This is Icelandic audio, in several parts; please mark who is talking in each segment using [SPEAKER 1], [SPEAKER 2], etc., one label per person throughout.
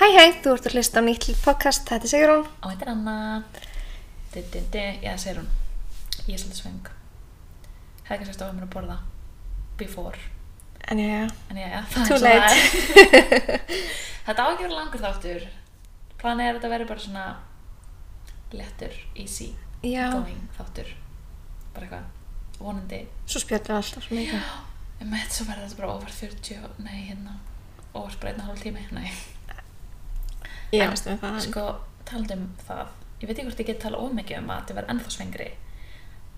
[SPEAKER 1] Hæ hæ, þú ert að hlusta á nýtt podcast, þetta er Sigrún.
[SPEAKER 2] Og þetta er Anna du, du, du. Já, það segir hún Ég er svolítið svöng Hefði kannski stofið mér að borða Before
[SPEAKER 1] En já, já.
[SPEAKER 2] En já, já, það er
[SPEAKER 1] Too
[SPEAKER 2] eins og það
[SPEAKER 1] late.
[SPEAKER 2] er. Þetta á ekki að vera langur þáttur Planið er að þetta verði bara svona Lettur, easy
[SPEAKER 1] Já.
[SPEAKER 2] Going þáttur Bara eitthvað, vonandi
[SPEAKER 1] Svo spjöldum við alltaf svo mikið.
[SPEAKER 2] Ég með svo verði þetta bara over 40 og- Nei, hérna, over bara einn og hálf tími Nei,
[SPEAKER 1] Ég
[SPEAKER 2] En,
[SPEAKER 1] veist um það.
[SPEAKER 2] Sko, talandi um það Ég veit ekki hvort ég get tala ómikið um að ég verði ennþá svengri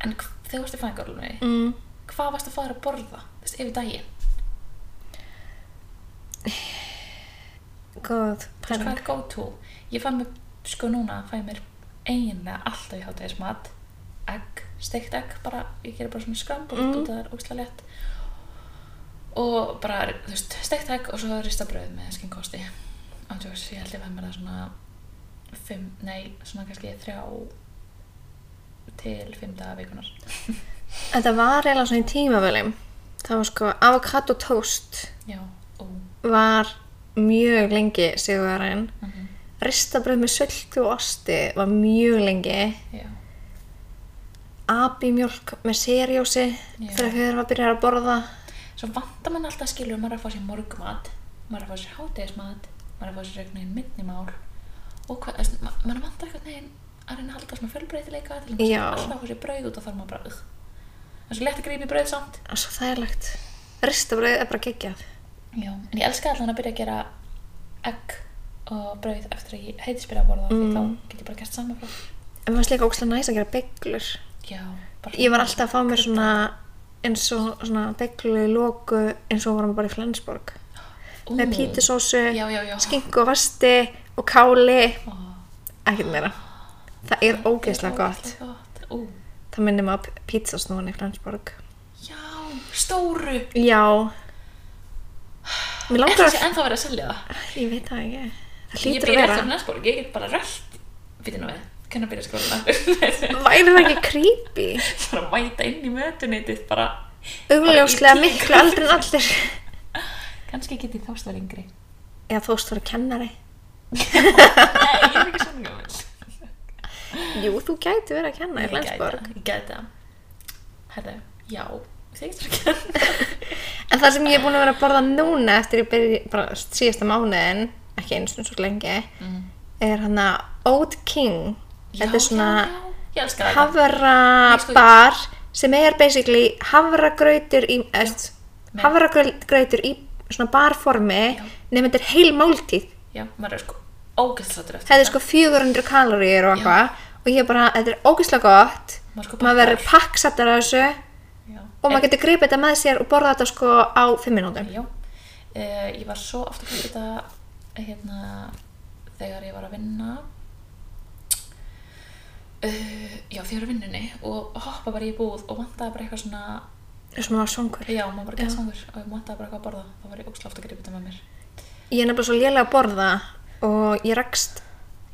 [SPEAKER 2] En hv- þegar þú varst í fæðingarlunni
[SPEAKER 1] Mm.
[SPEAKER 2] Hvað varst að fara að borða? Þú veist, yfir daginn
[SPEAKER 1] Góð
[SPEAKER 2] Þú veist, hvað
[SPEAKER 1] pæling.
[SPEAKER 2] er go to? Ég fann mér, sko núna, fæ mér eiginlega alltaf í hátæðismat Egg, steikt egg bara Ég gerir bara svona skrambúl
[SPEAKER 1] Mm.
[SPEAKER 2] mm. og það er ógislega lett Og bara, þú veist, steikt egg og svo rista brauð með skinkosti Andjóks, ég held ég fæ mér það svona Fimm, nei, svona kannski þrjá til fimm daga vikunar
[SPEAKER 1] Þetta var eiginlega svona í tímavölim. Það var sko avocado toast
[SPEAKER 2] Já, ó
[SPEAKER 1] var mjög lengi sigurinn.
[SPEAKER 2] mm
[SPEAKER 1] Ristabröð með söldu og osti var mjög lengi.
[SPEAKER 2] Já,
[SPEAKER 1] Abimjólk með serjósi
[SPEAKER 2] Já.
[SPEAKER 1] þegar við erum að byrja að borða.
[SPEAKER 2] Svo vantar mann alltaf að skilja maður er að fá sér morgumat, maður er að fá sér hátegismat, maður er að fá sér einhvern veginn minnimál og hvað, þess, ma maður vantar einhvern veginn að reyna að halda svona fjölbreytileika til þess
[SPEAKER 1] Já.
[SPEAKER 2] að alltaf að fá sér brauð út og þarf maður bara ugh. Það er svo lett að grípa í brauð samt.
[SPEAKER 1] Það er svo þægilegt. Ristabröð er bara geggjað.
[SPEAKER 2] Já. En ég elska allan að byrja að gera egg og brauð eftir að ég heitisbyrja að borða því
[SPEAKER 1] Mm.
[SPEAKER 2] þá get ég bara gert saman frá.
[SPEAKER 1] En mér finnst líka ógslag næst að gera bygglur.
[SPEAKER 2] Já. bara-
[SPEAKER 1] Ég var alltaf að fá mér svona eins og svona beglu lóku eins og vorum bara í Flensborg
[SPEAKER 2] Ú.
[SPEAKER 1] með pítusósu,
[SPEAKER 2] Já, já, já.
[SPEAKER 1] skinku og vasti og káli
[SPEAKER 2] Ó,
[SPEAKER 1] ekkert meira það er ógeðslega
[SPEAKER 2] þetta er
[SPEAKER 1] gott
[SPEAKER 2] ógeðslega gott. Ú.
[SPEAKER 1] það minnir maður á pítsasnúan í Flensborg
[SPEAKER 2] Já, stóru.
[SPEAKER 1] já mér
[SPEAKER 2] Er það
[SPEAKER 1] langar
[SPEAKER 2] sé
[SPEAKER 1] að
[SPEAKER 2] ennþá verið að selja það?
[SPEAKER 1] ég veit það ekki það
[SPEAKER 2] Ég
[SPEAKER 1] hlýtur
[SPEAKER 2] býr
[SPEAKER 1] að
[SPEAKER 2] eftir
[SPEAKER 1] vera
[SPEAKER 2] næstborg, ég get bara rölt Býtu nú við, hvernig byrja skólan
[SPEAKER 1] væri það ekki creepy
[SPEAKER 2] Bara mæta inn í mötuneytið bara
[SPEAKER 1] augljóslega
[SPEAKER 2] Bara í tíu.
[SPEAKER 1] miklu aldrei en allir
[SPEAKER 2] Kanski get ég þást að yngri Nei,
[SPEAKER 1] eða þóst vera kennari
[SPEAKER 2] ég er ekki svona gammal
[SPEAKER 1] jú, þú gæti verið að kenna í Flensborg
[SPEAKER 2] Ég gæti það Herðu, já, þegist þú ekki
[SPEAKER 1] En það sem ég er búin að vera að borða núna eftir ég byrja bara síðasta mánuðin, ekki eins og svo lengi,
[SPEAKER 2] Mm.
[SPEAKER 1] er hann að Oat King. Þetta er svona
[SPEAKER 2] já, já, Ég elska það Nei, sko, ég-
[SPEAKER 1] havrabar sem er basically havragrautur í, eðst,
[SPEAKER 2] Nei.
[SPEAKER 1] havragrautur í svona barformi
[SPEAKER 2] Já.
[SPEAKER 1] nema þetta er heil máltíð.
[SPEAKER 2] Já, maður er sko ógæstláttur eftir
[SPEAKER 1] Það er sko 400 kaloríur og eitthvað og ég bara, þetta er ógeðslega gott,
[SPEAKER 2] Maður sko
[SPEAKER 1] maður verður
[SPEAKER 2] bakkar.
[SPEAKER 1] pakksattar af þessu
[SPEAKER 2] Já.
[SPEAKER 1] og maður getur gripið þetta með sér og borða þetta sko á 5 minútum.
[SPEAKER 2] Já, uh, ég var svo aftur að kaupa þetta hérna, þegar ég var að vinna uh, já, þegar ég var að vinnunni og hoppa bara í búð og vantaði bara eitthvað svona
[SPEAKER 1] Svona songur.
[SPEAKER 2] já, maður bara gett svangur og ég vantaði bara eitthvað að borða þá var ég óksla aftur að greipa þetta með mér
[SPEAKER 1] Ég er nefnilega svo lélega að borða og ég rakst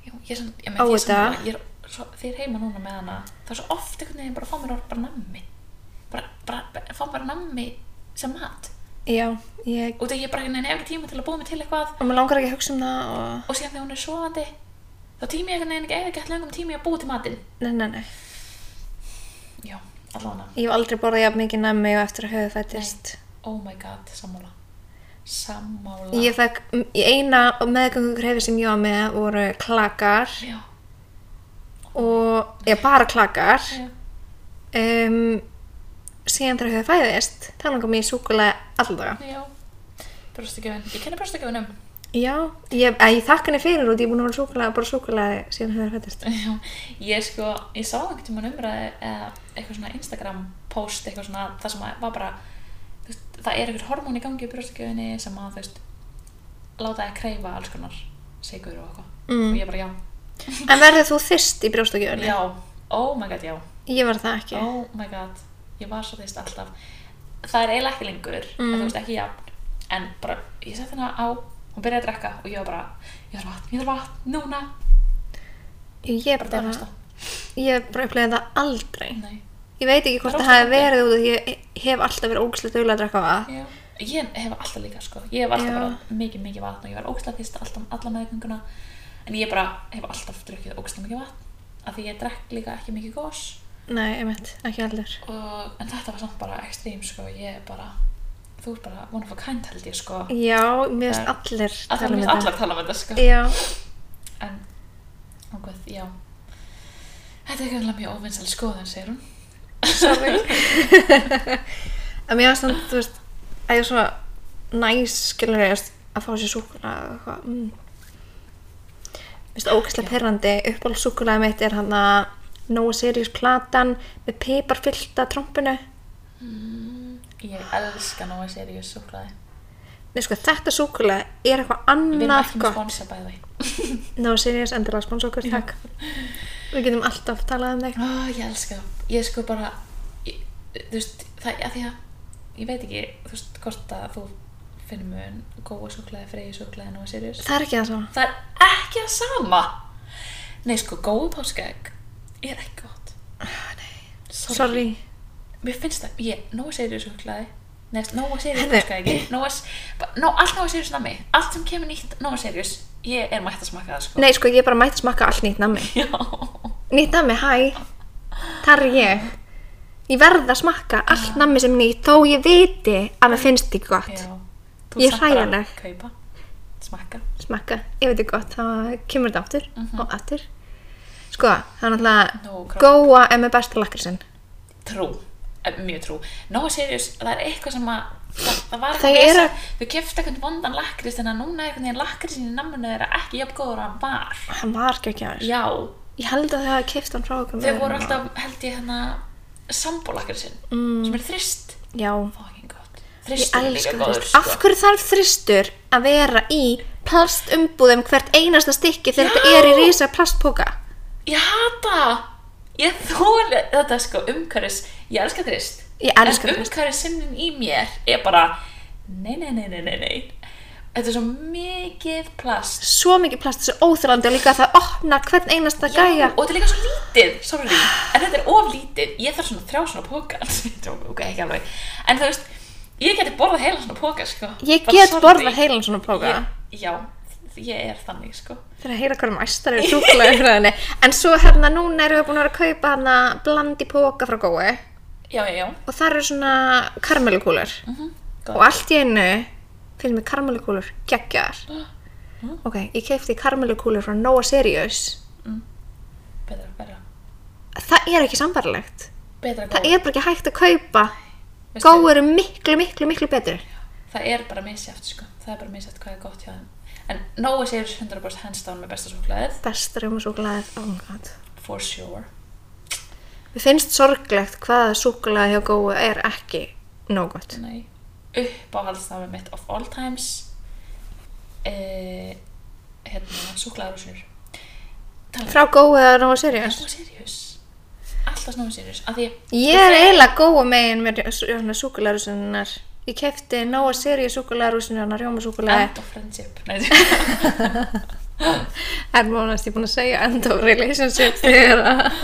[SPEAKER 2] já, ég, sem, ég,
[SPEAKER 1] Á
[SPEAKER 2] með, ég,
[SPEAKER 1] þetta.
[SPEAKER 2] sem, ég er, svo, þeir heima núna með hana það er svo oft einhvern veginn bara að fá mér orð bara nammi bara, bara, bara, fá bara nammi sem mat
[SPEAKER 1] Já, ég
[SPEAKER 2] og þegar ég bara neina efri tíma til að búa mig til eitthvað
[SPEAKER 1] og mér langar ekki að hugsa um það og
[SPEAKER 2] og síðan þegar hún er sofandi þá tími ég einhvern veginn ekki eða gett langum tími að búa til matinn
[SPEAKER 1] Nei, nei, nei
[SPEAKER 2] já, allavega
[SPEAKER 1] Ég hef aldrei borðað jafn mikið næmi og eftir að höfu fættist
[SPEAKER 2] oh my god, sammála sammála
[SPEAKER 1] Ég fekk m- í eina og meðgöngu krefi sem ég var með voru klakar
[SPEAKER 2] já,
[SPEAKER 1] og ég bara klakar
[SPEAKER 2] já,
[SPEAKER 1] um, síðan þegar höfu fæðist þá langar mér í súkulega alldaga
[SPEAKER 2] já brjóstakjöfin, ég kenni brjóstakjöfinum
[SPEAKER 1] Já, ég, að ég þakka henni fyrir út ég er búin að vera súkulega bara súkulega síðan höfu fættist
[SPEAKER 2] já, ég sko, ég sá einhvern tímann umræði eða eitthvað svona Instagram post eitthvað svona, það sem að var bara þú veist, það er einhver hormón í gangi í brjóstakjöfinni sem að, þú veist láta að kreifa alls konar sigur og eitthvað,
[SPEAKER 1] Mm.
[SPEAKER 2] og ég bara já
[SPEAKER 1] En verður þú þyrst í brjóstakjöfunni?
[SPEAKER 2] já, oh my god, já
[SPEAKER 1] Ég var það ekki
[SPEAKER 2] oh my god, ég var svo þýst alltaf það er eiginlega ekki lengur
[SPEAKER 1] Mm.
[SPEAKER 2] mm. þú veist ekki jafn, en bara ég sett hennar á, hún byrjaði að drekka og ég var bara, ég þarf vatn, ég þarf vatn, núna
[SPEAKER 1] Ég
[SPEAKER 2] bara það
[SPEAKER 1] bara,
[SPEAKER 2] næsta,
[SPEAKER 1] ég bara upplega það aldrei
[SPEAKER 2] nei
[SPEAKER 1] ég veit ekki hvort
[SPEAKER 2] Það er
[SPEAKER 1] það hafi
[SPEAKER 2] óskandi.
[SPEAKER 1] verið út af því ég hef alltaf verið ógæslega dögulega að drakka vatn
[SPEAKER 2] já, ég hef alltaf líka sko ég hef alltaf
[SPEAKER 1] Já.
[SPEAKER 2] bara mikið mikið vatn og ég var ógstlega fyrst alltaf um alla meðgönguna en ég bara hef alltaf drukkið ógstlega mikið vatn af því ég drekk líka ekki mikið gos
[SPEAKER 1] Nei, einmitt, ekki allir.
[SPEAKER 2] og, en þetta var samt bara ekstrím sko ég er bara, þú ert bara one of a kind held ég sko
[SPEAKER 1] Já, mér finnst
[SPEAKER 2] Það-
[SPEAKER 1] allir
[SPEAKER 2] að það
[SPEAKER 1] um
[SPEAKER 2] er
[SPEAKER 1] þetta.
[SPEAKER 2] allar tala um þetta sko
[SPEAKER 1] Já,
[SPEAKER 2] en, og hvað, já þetta er greinlega mjög óvinnsal skoðan segir hún
[SPEAKER 1] sorry. en mér finnst þannig, þú veist, að ég er svona næs, skilur ég, að fá sér súkulega eða eitthvað. Mm. Mér finnst ógæslega perrandi, uppáhalds súkulega mitt er hann að Nóa Sirius platan með piparfyllta trompinu.
[SPEAKER 2] ég elska nóga seriós súklaði
[SPEAKER 1] Nei, sko, þetta súkulega er eitthvað
[SPEAKER 2] við erum
[SPEAKER 1] annað
[SPEAKER 2] ekki með
[SPEAKER 1] gott.
[SPEAKER 2] sponsa bæði
[SPEAKER 1] Nóa Sirius, endilega spons okkur, takk. Við getum alltaf talað um þig.
[SPEAKER 2] Ó, ég elska það. Ég sko bara, ég, þú veist, það, að því að ég veit ekki, þú veist, hvort að þú finnir mun góða súklaði, freyja súklaði, nóg seriðs.
[SPEAKER 1] Það er ekki það sama.
[SPEAKER 2] Það er ekki að sama. Nei, sko, góð páskaegg er ekki gott. Nei, sorry.
[SPEAKER 1] Ah, Sorry.
[SPEAKER 2] Mér finnst það, ég, nóg seriðs súklaði, nefnst, nóg seriðs
[SPEAKER 1] Heyrðu.
[SPEAKER 2] páskaeggi, nóg, nó, allt nóg seriðs nami, allt sem kemur nýtt, nóg seriðs, ég er mætt að smaka það, sko.
[SPEAKER 1] Nei, sko, ég er bara mætti smakka allt nýtt nammi.
[SPEAKER 2] Já.
[SPEAKER 1] Nýtt nammi, hæ. Þar er ég. Ég verð að smakka allt nammi sem er nýtt þó ég viti að mér finnst ekki gott.
[SPEAKER 2] Já,
[SPEAKER 1] Ég er
[SPEAKER 2] samt bara
[SPEAKER 1] hræðileg.
[SPEAKER 2] Kaupa, smakka
[SPEAKER 1] Smakka, ef þetta er gott, þá kemur þetta aftur
[SPEAKER 2] Mhm.
[SPEAKER 1] og aftur. Sko, það er náttúrulega
[SPEAKER 2] Nóg krá-
[SPEAKER 1] góa er með besta lakrísinn.
[SPEAKER 2] Trú, eh, mjög trú Nóa seriðus, það er eitthvað sem að Það, það var
[SPEAKER 1] Það
[SPEAKER 2] eitthvað
[SPEAKER 1] er
[SPEAKER 2] vesen.
[SPEAKER 1] að-
[SPEAKER 2] Þau kefti eitthvað vondan lakrís Þannig að núna er einhvern veginn lakrísin í namminu þeirra ekki jafn góður að hann var
[SPEAKER 1] Hann var ekki ekki aðeins.
[SPEAKER 2] Já,
[SPEAKER 1] Ég held að það hafa kipt hann frá okkur.
[SPEAKER 2] þau voru alltaf, held ég hérna Sambólakrísin,
[SPEAKER 1] Mm.
[SPEAKER 2] sem er þrist
[SPEAKER 1] Já,
[SPEAKER 2] Fucking gott
[SPEAKER 1] ég
[SPEAKER 2] Þristur er
[SPEAKER 1] elska
[SPEAKER 2] líka góður
[SPEAKER 1] þrist.
[SPEAKER 2] sko.
[SPEAKER 1] Af hverju þarf þristur að vera í plastumbúðum hvert einasta stykki þegar þetta er í rísa plastpóka?
[SPEAKER 2] sko. Ég hata það. Ég þóli þetta sko umhverfis, ég elska þrist.
[SPEAKER 1] Ég elska
[SPEAKER 2] en
[SPEAKER 1] þrist.
[SPEAKER 2] umhverfisinnin í mér er bara, nei, nei, nei, nei, nei, nei. Þetta er svo mikið plast.
[SPEAKER 1] svo mikið plast, þessu óþrandi og líka að það opnar hvern einasta gæja
[SPEAKER 2] Og þetta er líka svo lítið, sorry, en þetta er of lítið. Ég þarf svona þrjá svona póka, ok, ekki alveg. En þú veist, ég geti borðað heila svona póka, sko.
[SPEAKER 1] ég
[SPEAKER 2] Bara
[SPEAKER 1] get
[SPEAKER 2] sorry.
[SPEAKER 1] borðað heilan svona plóka
[SPEAKER 2] Ég- Já, ég er þannig, sko.
[SPEAKER 1] þegar að heyra hverjum æstar er súkulega umræðinni en svo hérna núna erum við búin að vera að kaupa hérna blandi póka frá gói
[SPEAKER 2] Já, já, já. Mhm.
[SPEAKER 1] og þar eru svona karmelukúlur
[SPEAKER 2] Gott.
[SPEAKER 1] og allt í einu finnst mér karmelukúlur geggjar ok, ég keipti karmelukúlur frá Noah Sirius
[SPEAKER 2] Betra, betra.
[SPEAKER 1] það er ekki sambarlegt
[SPEAKER 2] Betra
[SPEAKER 1] það
[SPEAKER 2] góð.
[SPEAKER 1] er bara ekki hægt að kaupa
[SPEAKER 2] Veistu-
[SPEAKER 1] gói eru miklu, miklu, miklu betri
[SPEAKER 2] það er bara misjæft sko. það er bara misjæft hvað er gott hjá þeim en Nóa segir 100% hands down með besta súklaðið
[SPEAKER 1] best rjómasúkulega oh my god
[SPEAKER 2] for sure
[SPEAKER 1] Mér finnst sorglegt hvað súkulega hjá góðu er ekki nóg gott.
[SPEAKER 2] Nei. uppáhaldsnámi mitt of all times eh, hérna súklaðarúsur
[SPEAKER 1] Frá góðu eða nógu seriós.
[SPEAKER 2] Nóa serious um alltaf Nóa serious af því
[SPEAKER 1] Ég er eiginlega góða megin með súkulega rúsinnar. Ég kefti nógu seriós súkulega rúsinnar, rjómasúkulega.
[SPEAKER 2] end of friendship Nei,
[SPEAKER 1] Það er mónast ég búin að segja end of relationship þegar að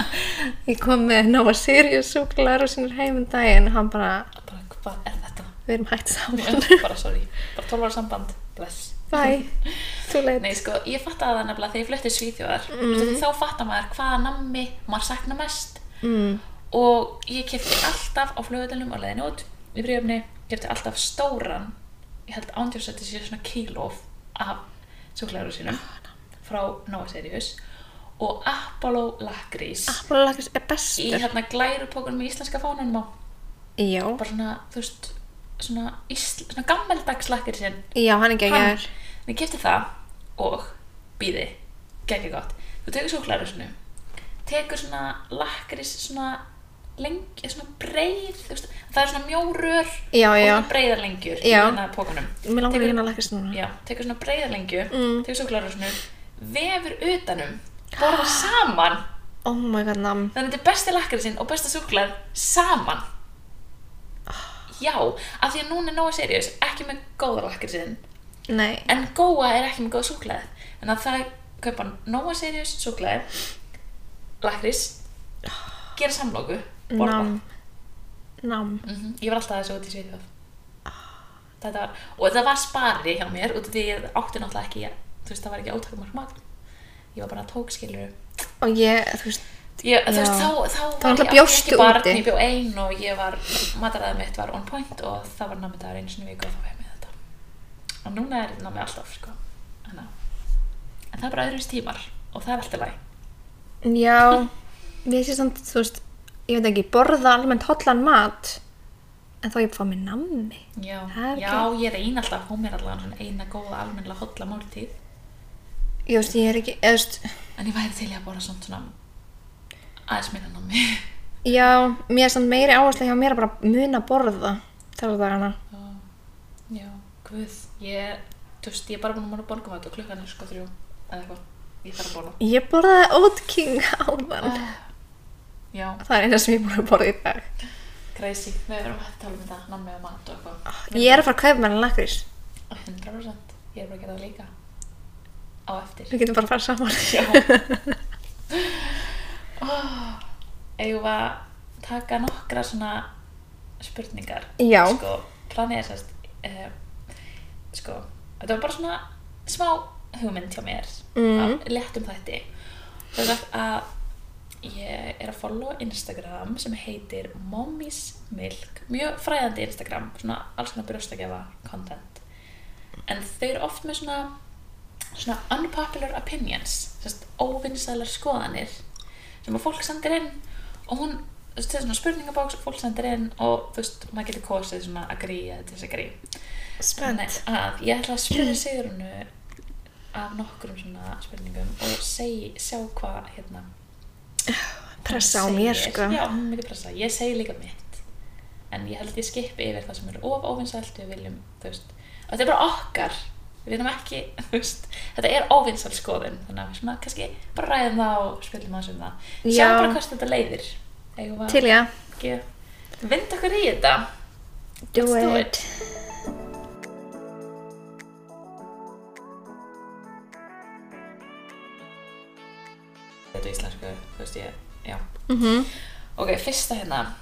[SPEAKER 1] ég kom með nógu seriós súkulega rúsinnar heim um daginn. Hann bara,
[SPEAKER 2] bara hvað er þetta
[SPEAKER 1] við erum hægt saman.
[SPEAKER 2] bara sorry bara 12 ára samband bless
[SPEAKER 1] Bye. Too late.
[SPEAKER 2] Nei, sko, ég fattaði það nefnilega þegar ég flutti í Svíþjóðar mm. þá fattar maður hvaða nammi maður sakna mest mm. og ég kefti alltaf á flugvöldunum og leiðin út í bríöfni kefti alltaf stóran ég held ándjórsætti sér svona kílóf af súklaður sínum frá Nóa Sirius og Apollo Lakrís
[SPEAKER 1] Apollo er
[SPEAKER 2] í
[SPEAKER 1] bestur.
[SPEAKER 2] hérna glærupókunum með íslenska fánunum á
[SPEAKER 1] Já.
[SPEAKER 2] bara svona, þú veist svona, ísl, svona gammeldags lakrís
[SPEAKER 1] Já, hann er geggjær.
[SPEAKER 2] en ég kefti það og býði, geggja gott þú tekur súklaðurusinu tekur svona lakris svona lengi, svona breið þú veist, það er svona mjórur
[SPEAKER 1] Já,
[SPEAKER 2] og
[SPEAKER 1] já.
[SPEAKER 2] svona breiðar lengjur í
[SPEAKER 1] Já.
[SPEAKER 2] hérna pókanum
[SPEAKER 1] Mér langar ekki
[SPEAKER 2] Tekur-
[SPEAKER 1] hérna að Mm. lakast núna.
[SPEAKER 2] já, tekur svona breiðar lengju tekur súklaðurusinu vefur utanum borða saman
[SPEAKER 1] Oh my god, nam.
[SPEAKER 2] þannig að þetta er besti lakrisinn og besta súklað saman
[SPEAKER 1] Ah.
[SPEAKER 2] já, af því að núna er nóga seriós ekki með góða lakrisinn
[SPEAKER 1] Nei.
[SPEAKER 2] En góa er ekki með góð súklaði. En að það kaupa Nova Sirius súklaði, lakrís, gera samlóku, borða.
[SPEAKER 1] Nam. Nam.
[SPEAKER 2] Mhm, Ég var alltaf þessu út í Svíþjóð. þetta var, og þetta var spari hjá mér út af því ég átti náttúrulega ekki þú veist, það var ekki átökumar magn ég var bara að tók skilur
[SPEAKER 1] og ég, þú veist,
[SPEAKER 2] ég, þú veist,
[SPEAKER 1] Já.
[SPEAKER 2] þá, þá
[SPEAKER 1] Þá
[SPEAKER 2] var
[SPEAKER 1] náttúrulega
[SPEAKER 2] ég átti
[SPEAKER 1] bjóstu
[SPEAKER 2] ekki barn,
[SPEAKER 1] úti.
[SPEAKER 2] ég bjó ein og ég var mataræðið mitt var on point og það var námið dagur einu sinni í viku og þá fæði mig þetta og núna er námið alltaf sko. Þannig að- en það er bara öðruvis tímar og það er alltaf læg
[SPEAKER 1] já ég sé samt, þú veist, ég veit ekki borða almennt hollan mat en þá ég fá mér nammi
[SPEAKER 2] Já,
[SPEAKER 1] Það er
[SPEAKER 2] já
[SPEAKER 1] ekki-
[SPEAKER 2] ég reyni alltaf að fá mér allan svona eina góða almennilega holla máltíð
[SPEAKER 1] ég veist, ég er ekki, eða, þú veist
[SPEAKER 2] en ég væri til í að borða samt svona aðeins minna námi
[SPEAKER 1] já, mér er samt meiri áhersla hjá mér að bara muna borða þar og dagana
[SPEAKER 2] Já, guð ég, þú veist, ég er bara búin að mora borga mat og klukkan er sko þrjú eða eitthvað ég þarf að borða
[SPEAKER 1] ég borðaði ótking áðan
[SPEAKER 2] Ah. Já,
[SPEAKER 1] það er eina sem ég er búin að borða í dag
[SPEAKER 2] crazy, við verum að tala um þetta námi og mat og eitthvað
[SPEAKER 1] Ah, ég er að fara að kaupa mér en lakrís
[SPEAKER 2] 100% ég er bara að gera það líka á eftir
[SPEAKER 1] við getum bara að fara saman
[SPEAKER 2] Já oh, Eigum við að taka nokkra svona spurningar
[SPEAKER 1] Já.
[SPEAKER 2] Sko, planið er sérst uh, Sko, þetta var bara svona smá hugmynd hjá mér
[SPEAKER 1] Mm.
[SPEAKER 2] að léttum þætti Það er sagt að ég er að followa Instagram sem heitir Mommy's Milk Mjög fræðandi Instagram, svona alls konar brjóstakjafa content En þau eru oft með svona svona unpopular opinions sérst, óvinsælar skoðanir sem að fólk sendir inn og hún, þú veist, þetta er svona spurningabóks og fólk sendir inn og þú veist, maður getur kosið svona agree eða disagree Þannig
[SPEAKER 1] spennt
[SPEAKER 2] að ég ætla að spyrja Sigrunu af nokkrum svona spurningum og segi, sjá hvað hérna
[SPEAKER 1] pressa á
[SPEAKER 2] hún
[SPEAKER 1] mér
[SPEAKER 2] segir.
[SPEAKER 1] sko
[SPEAKER 2] Já, hún er mikið pressa, ég segi líka mitt en ég held ég skipi yfir það sem er of óvinsælt við viljum, þú veist og þetta er bara okkar, við erum ekki þú veist, þetta er óvinsæl skoðun þannig að við svona kannski bara ræðum það og spilum aðeins um það,
[SPEAKER 1] Já.
[SPEAKER 2] sjáum bara hvers þetta leiðir eigum
[SPEAKER 1] til
[SPEAKER 2] við
[SPEAKER 1] já,
[SPEAKER 2] að ekki vind okkur í þetta
[SPEAKER 1] do
[SPEAKER 2] Let's do
[SPEAKER 1] it
[SPEAKER 2] þetta er íslensku, þú veist ég, já
[SPEAKER 1] Mhm.
[SPEAKER 2] ok, fyrsta hérna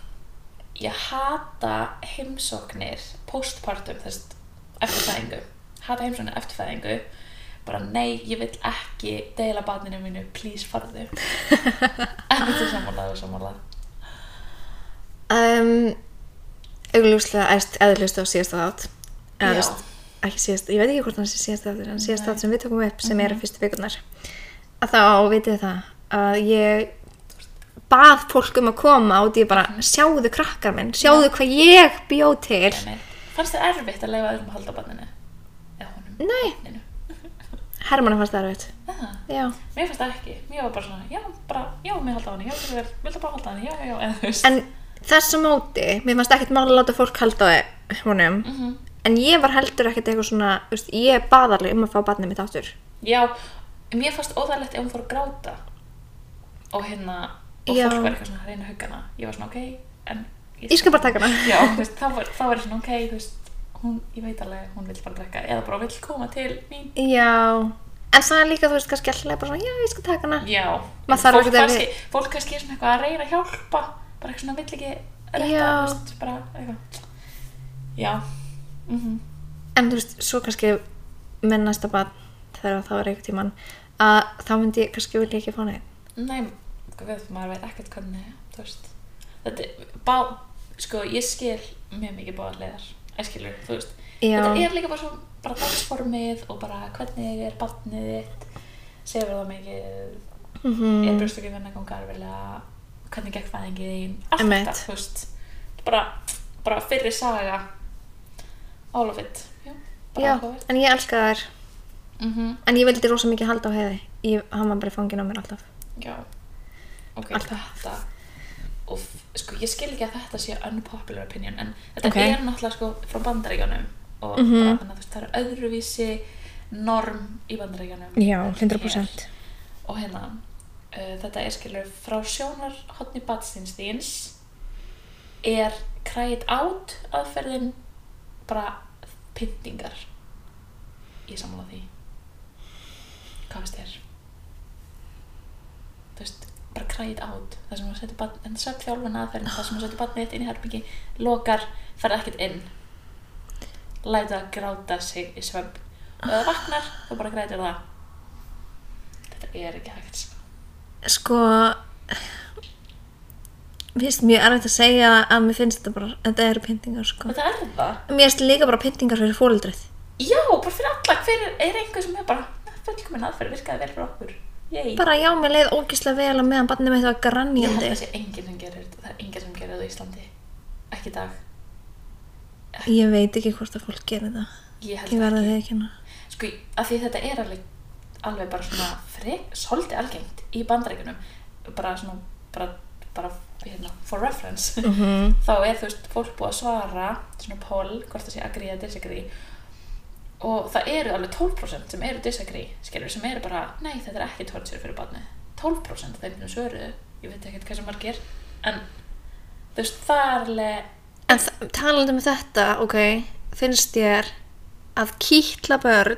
[SPEAKER 2] ég hata heimsóknir postpartum, þú veist eftir fæðingu, hata heimsóknir eftir fæðingu bara nei, ég vil ekki deila barninu mínu, please farðu ekki til samanlega og samanlega
[SPEAKER 1] um, augljóslega æst eðlust á síðasta þátt eða þú veist, ekki síðast, ég veit ekki hvort hann sé síðast þáttur en síðast
[SPEAKER 2] Nei. Mhm.
[SPEAKER 1] þátt sem við tókum upp sem mm -hmm. er fyrstu vikunar að þá vitið það að ég bað fólk um að koma og ég bara
[SPEAKER 2] Mhm.
[SPEAKER 1] sjáðu krakkar minn, sjáðu hvað ég bjó til
[SPEAKER 2] fannst þér erfitt að leifa öðrum að halda á barninu eða honum
[SPEAKER 1] nei,
[SPEAKER 2] Barninu?
[SPEAKER 1] Hermann fannst það erfitt
[SPEAKER 2] Ah.
[SPEAKER 1] já
[SPEAKER 2] Mér finnst það ekki, mér var bara svona, já, bara, já, mér halda á henni, já, þú vel, viltu bara halda á henni, já, já, já, eða þú veist.
[SPEAKER 1] en þess að móti, mér fannst ekkert mála að láta fólk halda á honum
[SPEAKER 2] Mhm.
[SPEAKER 1] en ég var heldur ekkert eitthvað svona þú veist, ég baðarlega um að fá barnið mitt áttur
[SPEAKER 2] Já, mér fannst óþægilegt ef hún fór að gráta og hérna, og
[SPEAKER 1] Já.
[SPEAKER 2] fólk var eitthvað svona að reyna að hugga hana. Ég var svona, ok, en...
[SPEAKER 1] Ég skal bara taka hana.
[SPEAKER 2] Já, þú veist, þá var, þá var ég svona, ok, þú veist, hún, ég veit alveg, hún vil bara drekka, eða bara vill koma til mín.
[SPEAKER 1] já, en það er líka þú veist kannski alltaf bara svona, já ég skal taka hana
[SPEAKER 2] Já,
[SPEAKER 1] Maður þarf
[SPEAKER 2] fólk
[SPEAKER 1] ekkert að við-
[SPEAKER 2] kannski, fólk kannski er svona eitthvað að reyna að hjálpa, bara eitthvað svona, vill ekki
[SPEAKER 1] Já.
[SPEAKER 2] retta, þú veist, bara eitthvað. Já, mhm.
[SPEAKER 1] en þú veist, svo kannski með næsta barn þegar það var eitthvað tíman að þá myndi ég kannski vilja ekki fá neinn
[SPEAKER 2] Nei, við, maður veit ekkert hvernig, þú veist. Þetta, er- bá, sko, ég skil mjög mikið báðar leiðar, ég skilur, þú veist.
[SPEAKER 1] Já.
[SPEAKER 2] Þetta er líka bara svona, bara dagsformið og bara hvernig er barnið þitt, sefur það mikið,
[SPEAKER 1] mm
[SPEAKER 2] er brjóstökið venn að ganga arfilega, hvernig gekk fæðingið þín, allt
[SPEAKER 1] Einmitt.
[SPEAKER 2] þetta, þú veist. Bara, bara fyrri saga, all of it, já, bara
[SPEAKER 1] já,
[SPEAKER 2] áhugavert.
[SPEAKER 1] en ég elska þær
[SPEAKER 2] Mhm,
[SPEAKER 1] en ég vildi rosa mikið halda á heiði ég, hann var bara fangin á mér alltaf
[SPEAKER 2] Já, ok,
[SPEAKER 1] Alltaf.
[SPEAKER 2] þetta og sko, ég skil ekki að þetta sé unpopular opinion, en þetta
[SPEAKER 1] Ok.
[SPEAKER 2] er náttúrulega sko frá bandaríkjónum og mm
[SPEAKER 1] Mhm.
[SPEAKER 2] -hmm. bara, þannig að þú veist, það er öðruvísi norm í bandaríkjónum
[SPEAKER 1] já,
[SPEAKER 2] en
[SPEAKER 1] 100%
[SPEAKER 2] hér. og hérna, uh, þetta er skilur frá sjónar hotni batsins þíns er kræðið át aðferðin bara pyntingar ég sammála því hvað finnst þér? þú veist, bara kræðið át það sem þú setur barn, en söp þjálfuna aðferðin það sem þú setur barnið þitt inn í herbyggi, lokar ferð ekkert inn lætur það gráta sig í svefn og ef það vaknar þá bara grætir það þetta er ekki hægt sko.
[SPEAKER 1] sko mér finnst mjög erfitt að segja að mér finnst þetta bara, þetta eru pyntingar sko.
[SPEAKER 2] þetta er það
[SPEAKER 1] mér finnst líka bara pyntingar fyrir fóreldrið
[SPEAKER 2] já, bara fyrir alla, hver er, er einhver sem er bara "Eh, fullkomin aðferð, virkaði vel fyrir okkur Yay.
[SPEAKER 1] bara já, mér leið ógislega vel að meðan barnið mitt var
[SPEAKER 2] ég held
[SPEAKER 1] granjandi
[SPEAKER 2] að það sé enginn sem gerir þetta það er enginn sem gerir þetta á Íslandi ekki í dag,
[SPEAKER 1] ég veit ekki hvort að fólk gerir það
[SPEAKER 2] ég held
[SPEAKER 1] ég
[SPEAKER 2] það
[SPEAKER 1] verða
[SPEAKER 2] ekki
[SPEAKER 1] því ekki hana
[SPEAKER 2] sko, af því þetta er alveg, alveg bara svona frek, svolítið algengt í bandarækjunum bara svona, bara, bara hérna, for reference
[SPEAKER 1] -hmm.
[SPEAKER 2] þá er þú veist, fólk búið að svara svona poll, hvort það sé agree eða disagree og það eru alveg 12% sem eru disagree, skilur, sem eru bara nei, þetta er ekki torture fyrir barnið 12% af þeim sem svöruðu, ég veit ekkert hvað sem margir, en þú veist, það er alveg
[SPEAKER 1] en þa- talandi um þetta, ok finnst þér að kýtla börn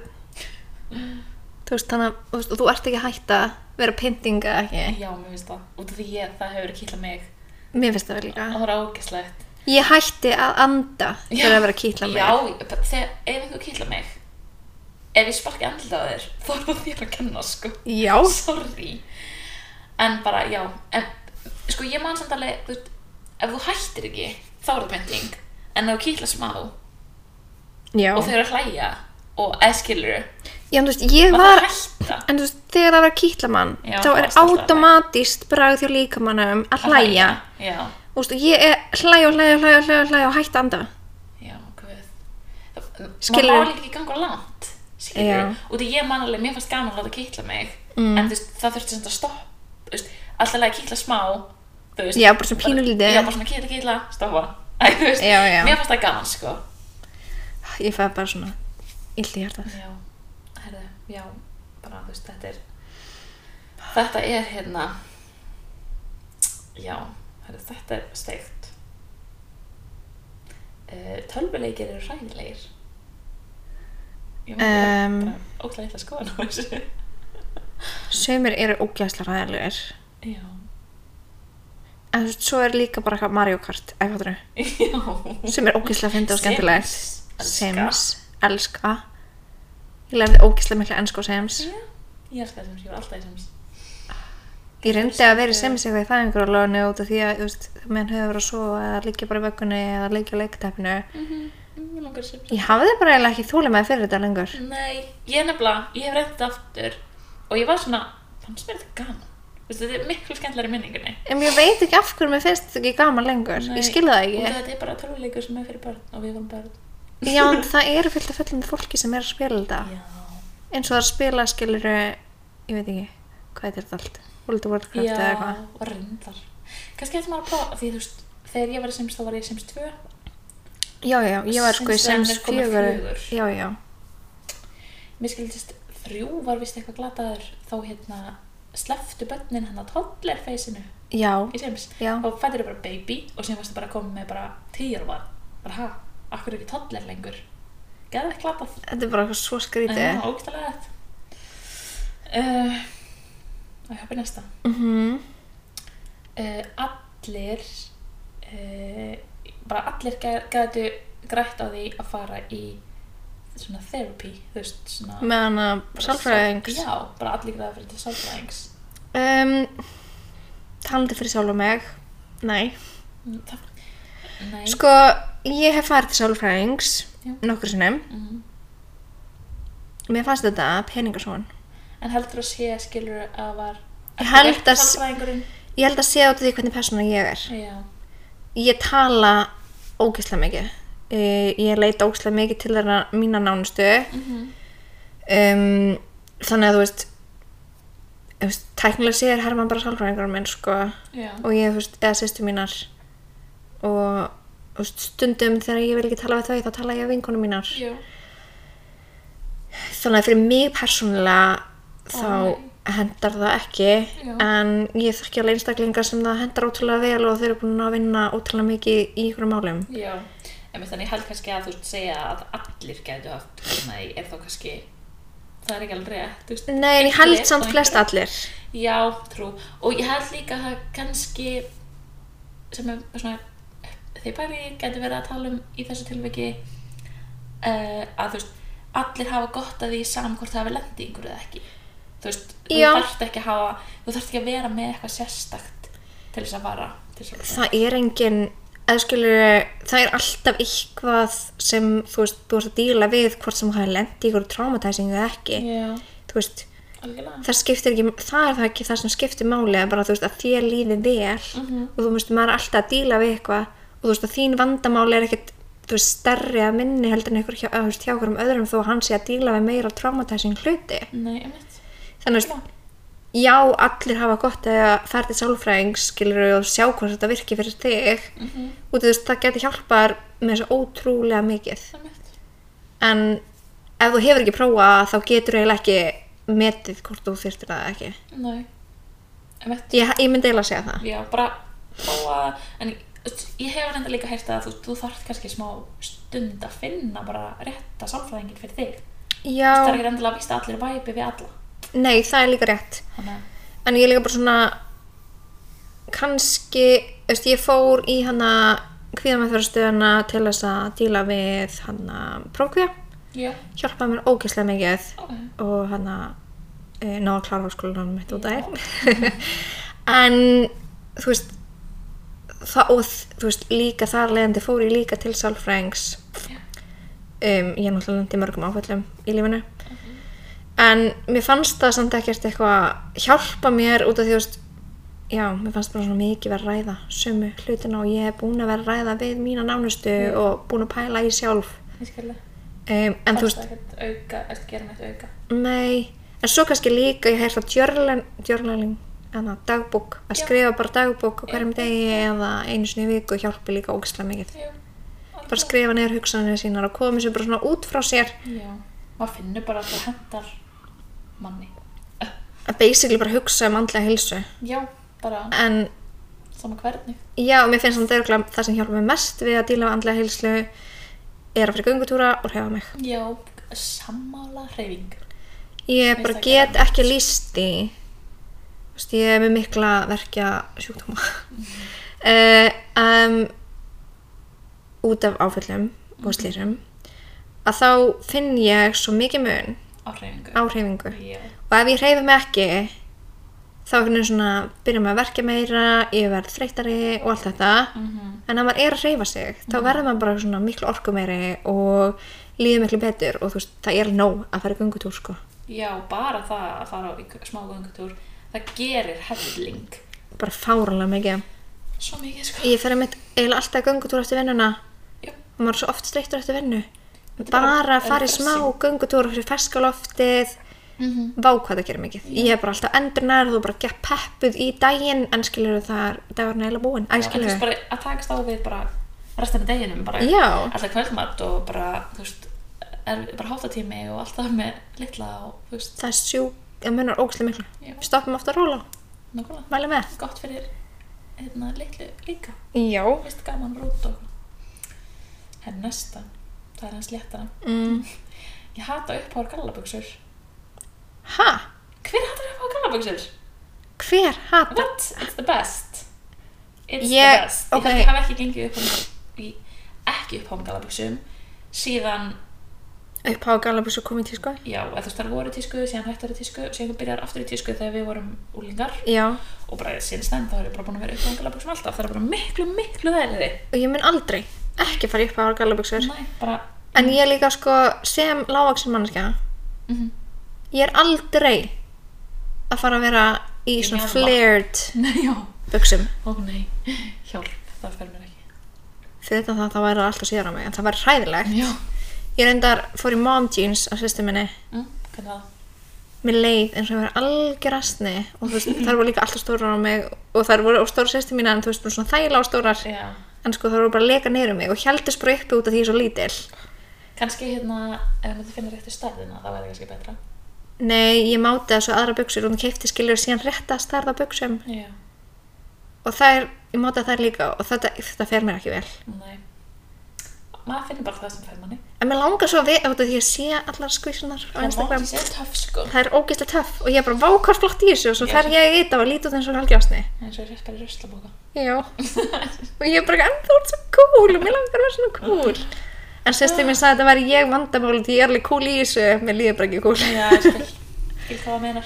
[SPEAKER 1] þú veist, þannig að þú veist, og þú ert ekki að hætta vera pyntinga ekki
[SPEAKER 2] já, mér finnst það, út af því ég, það hefur kýtlað mig
[SPEAKER 1] mér finnst það vel
[SPEAKER 2] og
[SPEAKER 1] líka
[SPEAKER 2] það er ágæslegt
[SPEAKER 1] ég hætti að anda fyrir að vera að kýtla mig
[SPEAKER 2] Já, ég- bara þegar, ef einhver kýtla mig ef ég sparki andlið á þér þá er það þér að kenna, sko
[SPEAKER 1] já,
[SPEAKER 2] sorry en bara, já en, sko, ég man samt alveg þú veist, ef þú hættir ekki, þá er það pynting en ef þú kýtla smá
[SPEAKER 1] já.
[SPEAKER 2] og þau eru að hlæja og eðskilur,
[SPEAKER 1] já en þú veist, ég
[SPEAKER 2] var það
[SPEAKER 1] var
[SPEAKER 2] að hætta
[SPEAKER 1] en þú veist, þegar það var að kýtla mann
[SPEAKER 2] Já,
[SPEAKER 1] þá
[SPEAKER 2] það
[SPEAKER 1] er
[SPEAKER 2] var stórt
[SPEAKER 1] automatist bragð hjá líkamannum að hlæja
[SPEAKER 2] já,
[SPEAKER 1] Þú veist, og ég er hlæja og hlæja og hlæja og hlæja, og hlæja og hætta að anda
[SPEAKER 2] já, guð Það-
[SPEAKER 1] Skilurðu?
[SPEAKER 2] maður má líka ekki ganga langt skilur,
[SPEAKER 1] Já.
[SPEAKER 2] út af ég man alveg, mér fannst gaman að láta kýtla mig
[SPEAKER 1] Mm.
[SPEAKER 2] en þú veist, það þurfti samt að stoppa þú veist, alltaf að kýtla smá þú veist,
[SPEAKER 1] Já, bara svona pínulítið.
[SPEAKER 2] já, bara svona kýtla, kýtla, stoppa Æ, þú veist,
[SPEAKER 1] Já, já.
[SPEAKER 2] mér fannst það gaman, sko
[SPEAKER 1] ég fæði bara svona illt í hjartað
[SPEAKER 2] Já, herðu, já, bara þú veist, þetta er, þetta er hérna, já, herðu, þetta er steikt. Uh, tölvuleikir eru ræðilegir. Ég maður um,
[SPEAKER 1] Em.
[SPEAKER 2] bara ógla eitthvað skoðan á þessu.
[SPEAKER 1] Sumir eru ógæsla ræðilegur
[SPEAKER 2] Já,
[SPEAKER 1] En þú veist, svo er líka bara eitthvað Mario Kart eða hvað það
[SPEAKER 2] já.
[SPEAKER 1] sem er ógæsla að finna og skemmtileg
[SPEAKER 2] Elska.
[SPEAKER 1] Sims, elska Ég lærði ógæsla mikla ennsku á Sims
[SPEAKER 2] Já, ég elska Sims, ég var alltaf í Sims.
[SPEAKER 1] Ég reyndi að
[SPEAKER 2] eh,
[SPEAKER 1] vera í Sims eitthvað í fæðingur og lögni út af því að, þú veist, menn höfðu verið að sofa eða líka bara í vöggunni eða líka á leikutæpinu
[SPEAKER 2] Mm -hmm. Ég langar í Sims.
[SPEAKER 1] Ég hafði bara eiginlega ekki þúlega með fyrir þetta lengur
[SPEAKER 2] Nei, ég nefnilega, ég hef reyndið aftur og ég var svona, fannst mér þetta gaman Vistu, þetta er miklu skemmtilega í minningunni
[SPEAKER 1] En ég veit ekki af hverju mér finnst þetta ekki gaman lengur Ég skilði það
[SPEAKER 2] Og
[SPEAKER 1] ekki
[SPEAKER 2] þetta er bara tölvuleikur sem er fyrir börn og við varum börn
[SPEAKER 1] Já, en það eru fyllt af fullum fólki sem er að spila þetta
[SPEAKER 2] Já,
[SPEAKER 1] eins og það er að spila skilur ég veit ekki, hvað heitir þetta allt World of Warcraft
[SPEAKER 2] já,
[SPEAKER 1] eða eitthvað
[SPEAKER 2] og reyndar Kannski eftir maður að prófa, því þú veist, þegar ég var í Sims þá var ég í Sims 2
[SPEAKER 1] já, já, ég var sko í
[SPEAKER 2] Sims
[SPEAKER 1] Sims
[SPEAKER 2] er komið
[SPEAKER 1] 4
[SPEAKER 2] fjögur.
[SPEAKER 1] já, já,
[SPEAKER 2] Mér skildist þrjú var vist eitthvað glataður þá hérna sleftu börnin hann að toddlerfeysinu
[SPEAKER 1] já,
[SPEAKER 2] í Sims
[SPEAKER 1] já
[SPEAKER 2] og fættir bara baby og síðan varstu bara að koma með bara tíjar var bara ha, akkur ekki toddler lengur gerði ekki glatað
[SPEAKER 1] þetta er bara eitthvað svo
[SPEAKER 2] en það
[SPEAKER 1] skrítið
[SPEAKER 2] var ógæstilega þetta uh, og ég hoppi næsta
[SPEAKER 1] mm
[SPEAKER 2] uh, allir uh, bara allir gætu grætt á því að fara í svona therapy þú veist svona
[SPEAKER 1] með hana sálfræðings
[SPEAKER 2] já, bara allir græða fyrir til sálfræðings
[SPEAKER 1] um, talandi fyrir sjálf og meg nei,
[SPEAKER 2] Mm, það, nei
[SPEAKER 1] sko ég hef farið til sálfræðings
[SPEAKER 2] Já.
[SPEAKER 1] nokkur sinnum
[SPEAKER 2] Mhm.
[SPEAKER 1] mér fannst þetta peningarsón
[SPEAKER 2] en heldur að sé skilur að var
[SPEAKER 1] Ég held að-
[SPEAKER 2] sálfræðingurinn
[SPEAKER 1] ég held að sé út af því hvernig persóna ég er
[SPEAKER 2] já
[SPEAKER 1] ég tala ógeðslega mikið uh, ég leita ógeðslega mikið til þeirra mína nánustu Mhm. um, þannig að þú veist, þú veist tæknilega séð er Herman bara sálfræðingur minn sko
[SPEAKER 2] Já.
[SPEAKER 1] og ég, þú veist, eða sýstu mínar og þú veist, stundum þegar ég vil ekki tala við þau þá tala ég við vinkonum mínar
[SPEAKER 2] Já.
[SPEAKER 1] þannig að fyrir mig persónulega þá
[SPEAKER 2] Ó,
[SPEAKER 1] hendar það ekki
[SPEAKER 2] Já.
[SPEAKER 1] en ég þekki alveg einstaklingar sem það hendar ótrúlega vel og þeir eru búin að vinna ótrúlega mikið í ykkur málum
[SPEAKER 2] Já. En þannig ég held kannski að þú veist segja að allir gætu haft hérna í er þá kannski það er ekki alveg rétt, þú veist.
[SPEAKER 1] Nei, en ég
[SPEAKER 2] Einhverjir
[SPEAKER 1] held samt
[SPEAKER 2] og
[SPEAKER 1] flest
[SPEAKER 2] einhverjir.
[SPEAKER 1] allir.
[SPEAKER 2] Já, trú. Og ég held líka að það kannski sem er svona þeir bæri gætu verið að tala um í þessu tilviki uh, að þú veist, allir hafa gott að því saman hvort það hafi lendi yngur eða ekki þú veist,
[SPEAKER 1] Já.
[SPEAKER 2] þú þarft ekki að hafa þú þarft ekki að vera með eitthvað sérstakt til þess að vara til þess að
[SPEAKER 1] það er engin eða skilur, það er alltaf eitthvað sem þú veist, þú veist að díla við hvort sem það er lendi ykkur traumatizing eða ekki,
[SPEAKER 2] Já,
[SPEAKER 1] þú veist
[SPEAKER 2] algjörlega
[SPEAKER 1] það skiptir ekki, það er það ekki það sem skiptir máli að bara þú veist að þér líði vel
[SPEAKER 2] Mhm.
[SPEAKER 1] og þú veist maður er alltaf að díla við eitthvað og þú veist að þín vandamáli er ekkit þú veist stærri að minni heldur en einhver hjá, eða, þú veist, hjá okkur um öðrum þó að hann sé að díla við meira traumatizing hluti
[SPEAKER 2] Nei, einmitt
[SPEAKER 1] þannig að þú veist, já allir hafa gott að fara til sálfræðing skilur og sjá hvort þetta virki fyrir þig
[SPEAKER 2] mm -hmm.
[SPEAKER 1] og þú veist það geti hjálpað þér með þessu ótrúlega mikið
[SPEAKER 2] einmitt
[SPEAKER 1] en ef þú hefur ekki prófað þá getur þú eiginlega ekki metið hvort þú þyrtir það eða ekki
[SPEAKER 2] Nei, einmitt
[SPEAKER 1] ég, ég myndi eiginlega að segja það
[SPEAKER 2] Já, bara prófa en ég hef reynda líka heyrt að þú, þú þarft kannski smá stund að finna bara rétta sálfræðingin fyrir þig það er
[SPEAKER 1] Já,
[SPEAKER 2] ekki endilega að vísta allir væpi við alla
[SPEAKER 1] nei, það er líka rétt.
[SPEAKER 2] þannig að
[SPEAKER 1] En ég er líka bara svona, kannski, þú veist, ég fór í hana kvíðamæðfæðarstöðuna til þess að díla við hana prófkvíða,
[SPEAKER 2] já,
[SPEAKER 1] hjálpaði mér ógeðslega mikið
[SPEAKER 2] ok
[SPEAKER 1] og hana e, náða að klára háskólanum mitt út af þér. en, þú veist, það, og þ- þú veist, líka þar leiðandi fór ég líka til sálfrængs
[SPEAKER 2] Já.
[SPEAKER 1] um, ég er náttúrulega lendi mörgum áfællum í lífinu en mér fannst það samt ekkert eitthvað hjálpa mér út af því þú veist já, mér fannst bara svona mikið verið að ræða sömu hlutina og ég hef búin að vera að ræða við mína nánustu
[SPEAKER 2] Já.
[SPEAKER 1] og búin að pæla í sjálf
[SPEAKER 2] ég skilja
[SPEAKER 1] um, en þú veist,
[SPEAKER 2] ekkert auka, ekkert gera neitt auka
[SPEAKER 1] nei en svo kannski líka ég hef það djörlæling eða dagbók, að
[SPEAKER 2] Já.
[SPEAKER 1] skrifa bara dagbók á hverjum
[SPEAKER 2] Já.
[SPEAKER 1] degi eða einu sinni í viku hjálpi líka ógislega mikið
[SPEAKER 2] já,
[SPEAKER 1] bara skrifa neður hugsanir sínar og koma sér bara svona út frá sér
[SPEAKER 2] já, maður finnur bara að það hendar manni
[SPEAKER 1] að basically bara hugsa um andlega hilsu
[SPEAKER 2] já, bara
[SPEAKER 1] en
[SPEAKER 2] sama hvernig
[SPEAKER 1] já, mér finnst þannig að það sem hjálpa mig mest við að díla við andlega hilsu er að fyrir göngutúra og hefa mig
[SPEAKER 2] já, sammála hreyfing
[SPEAKER 1] ég
[SPEAKER 2] Finnst
[SPEAKER 1] bara
[SPEAKER 2] það
[SPEAKER 1] get
[SPEAKER 2] geðveikt.
[SPEAKER 1] ekki líst í þú veist, ég er með mikla verkja sjúkdóma
[SPEAKER 2] Mhm.
[SPEAKER 1] uh, um, út af áföllum
[SPEAKER 2] Mhm.
[SPEAKER 1] og slýrum að þá finn ég svo mikið mun
[SPEAKER 2] á hreyfingu
[SPEAKER 1] á hreyfingu
[SPEAKER 2] já,
[SPEAKER 1] og ef ég hreyfi mig ekki þá einhvern veginn svona byrja maður að verka meira ég verð þreytari og allt þetta
[SPEAKER 2] mhm,
[SPEAKER 1] en ef maður er að hreyfa sig þá verður maður bara svona miklu orku meiri og líður miklu betur og þú veist, það er nóg að fara í göngutúr sko
[SPEAKER 2] Já, bara það að fara á einhver- smá göngutúr, það gerir helling.
[SPEAKER 1] bara fáranlega mikið
[SPEAKER 2] Svo mikið, sko.
[SPEAKER 1] ég fer að mitt eiginlega alltaf í göngutúr eftir vinnuna
[SPEAKER 2] Já,
[SPEAKER 1] og maður er svo oft streyttur eftir vinnu
[SPEAKER 2] er bara-
[SPEAKER 1] bara að
[SPEAKER 2] það er
[SPEAKER 1] fara í smá
[SPEAKER 2] refreshing.
[SPEAKER 1] göngutúr fyrir ferska loftið
[SPEAKER 2] mm -hmm.
[SPEAKER 1] vá hvað það gerir mikið ég er bara alltaf endurnærð og bara gett peppuð í daginn en skilur það er dagurinn eiginlega búinn æ
[SPEAKER 2] þú veist
[SPEAKER 1] skilur
[SPEAKER 2] bara að takast á við bara restan af deginum, bara
[SPEAKER 1] Já.
[SPEAKER 2] alltaf kvöldmatt og bara, þú veist, er bara háttatími og alltaf með litla og, þú veist,
[SPEAKER 1] það er sjú, það munar ógæslega miklu
[SPEAKER 2] Já.
[SPEAKER 1] við stoppum ofta að róla,
[SPEAKER 2] nákvæmlega.
[SPEAKER 1] mæli með
[SPEAKER 2] Gott fyrir, hérna, litlu líka.
[SPEAKER 1] já
[SPEAKER 2] Vist gaman rút og hér næsta, það er hans léttara.
[SPEAKER 1] mm.
[SPEAKER 2] Ég hata uppháður gallabuxur.
[SPEAKER 1] ha,
[SPEAKER 2] Hver hatar uppháður gallabuxur?
[SPEAKER 1] hver hata
[SPEAKER 2] What? It's the best. It's
[SPEAKER 1] Ég-
[SPEAKER 2] the best.
[SPEAKER 1] ok.
[SPEAKER 2] Ég held ég hafi ekki gengið upp um, í, ekki upp um galabuxum síðan,
[SPEAKER 1] upp á galabús og komið til sko
[SPEAKER 2] já, eða þú veist þar voru í tísku, síðan hættar í tísku, síðan þú byrjar aftur í tísku þegar við vorum úlingar
[SPEAKER 1] já,
[SPEAKER 2] og bara síðan stend þá er ég bara búin að vera upp um galabuxum alltaf, það er bara miklu, miklu þærri.
[SPEAKER 1] og ég mun aldrei ekki fara upp á galabúsur
[SPEAKER 2] Næ, bara,
[SPEAKER 1] en ég er líka sko sem lágvaksin manneskja
[SPEAKER 2] mm -hmm.
[SPEAKER 1] ég er aldrei að fara að vera í
[SPEAKER 2] Í
[SPEAKER 1] svona
[SPEAKER 2] mjálma.
[SPEAKER 1] flared
[SPEAKER 2] nei, já,
[SPEAKER 1] buksum
[SPEAKER 2] ó nei, hjálp, það fer mér ekki.
[SPEAKER 1] fyrir þetta það, það væri það alltaf síðar á mig en það væri hræðilegt
[SPEAKER 2] Já,
[SPEAKER 1] ég reyndar fór í mom jeans á sýstu minni
[SPEAKER 2] mm, hvernig var það?
[SPEAKER 1] mér leið eins og ég var algjörastni og þú veist, þær voru líka alltaf stórar á mig og þær voru á stóra sýstu mína en þú veist, bara svona þægilega stórar
[SPEAKER 2] Já,
[SPEAKER 1] en sko þær voru bara að leka niður um mig og heldur spró uppi út af því ég er svo lítil
[SPEAKER 2] kannski hérna, ef maður finnir réttu stærðina, það væri kannski betra.
[SPEAKER 1] nei, ég máti þessu aðra buksur og hún keipti skilur síðan rétt að starða buksum
[SPEAKER 2] Já,
[SPEAKER 1] og þær, ég máti þær líka og þetta, þetta fer mér ekki vel
[SPEAKER 2] Nei. Maður finnir bara það sem fær manni.
[SPEAKER 1] en mér langar svo að við, út af því ég sé allar skvísunar á Instagram
[SPEAKER 2] Það er töff sko.
[SPEAKER 1] það er ógeðslega töff og ég er bara vákar flott í þessu og svo
[SPEAKER 2] Já.
[SPEAKER 1] fer ég í þetta og lít út eins og algjörastni
[SPEAKER 2] Eins og rétt bara í ruslabóka.
[SPEAKER 1] já og ég er bara, en þú ert svo cool og mér langar að vera svona cool en en sýstir mín sagði að þetta væri ég vandamálið því ég er alveg cool í þessu, mér líður bara ekki cool
[SPEAKER 2] Já, ég skil, skil hvað það menar.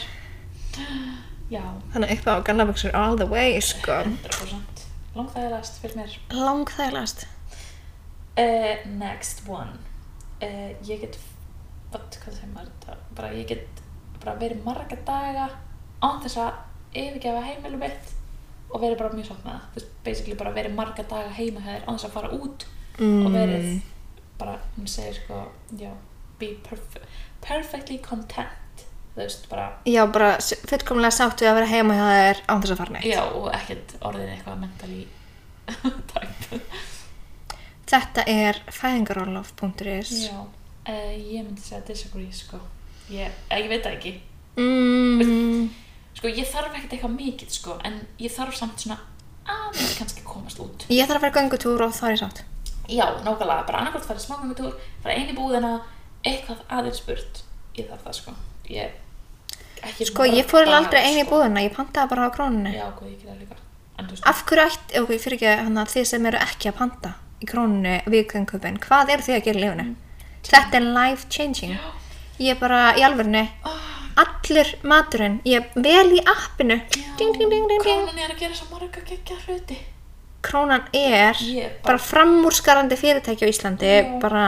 [SPEAKER 2] Já,
[SPEAKER 1] þannig að eitthvað á gannaböksur all the way sko.
[SPEAKER 2] 100%. Langþægilegast fyrir mér.
[SPEAKER 1] langþægilegast
[SPEAKER 2] Uh, next one. Uh, ég get, what, hvað segir maður þetta? Bara ég get bara verið marga daga án þess að yfirgefa heimilu mitt og verið bara mjög sátt með það. Þú veist, basically bara verið marga daga heima hjá þér án þess að fara út
[SPEAKER 1] Mm.
[SPEAKER 2] og verið bara, hún segir sko, já, be perf perfectly content. Þú veist, bara,
[SPEAKER 1] já, bara s- fullkomlega sátt við að vera heima hjá þér án þess að fara neitt
[SPEAKER 2] já, og ekkert orðin eitthvað mentally type.
[SPEAKER 1] þetta er fæðingarorlof.is
[SPEAKER 2] Já, uh, ég myndi segja disagree, sko. Ég, eh, ég veit það ekki.
[SPEAKER 1] mm,
[SPEAKER 2] Sko, ég þarf ekkert eitthvað mikið, sko, en ég þarf samt svona aðeins kannski komast út.
[SPEAKER 1] ég þarf að fara göngutúr og þá er ég sátt
[SPEAKER 2] Já, nákvæmlega, bara annarkvæmt fara í smágangutúr, fara einu búðina, eitthvað aðeins burt. Ég þarf það, sko. Ég, ekki sko.
[SPEAKER 1] sko, ég fór alveg aldrei einu í búðina ég pantaði bara á krónunni
[SPEAKER 2] Já, ok, ég gera líka. En þú veist,
[SPEAKER 1] af hverju ætti, ok, fyrir ekki hann að þið sem eru ekki að panta í krónunni við göngupin, hvað eru þið að gera í lifinu
[SPEAKER 2] Mm.
[SPEAKER 1] þetta er life changing ég bara, í alvörinu
[SPEAKER 2] Ah.
[SPEAKER 1] allur maturinn ég vel í appinu
[SPEAKER 2] já,
[SPEAKER 1] ding, ding, ding, ding, ding.
[SPEAKER 2] krónan er að gera svo marga geggja hluti.
[SPEAKER 1] krónan er
[SPEAKER 2] Ég bara-
[SPEAKER 1] bara framúrskarandi fyrirtæki á Íslandi
[SPEAKER 2] Já.
[SPEAKER 1] bara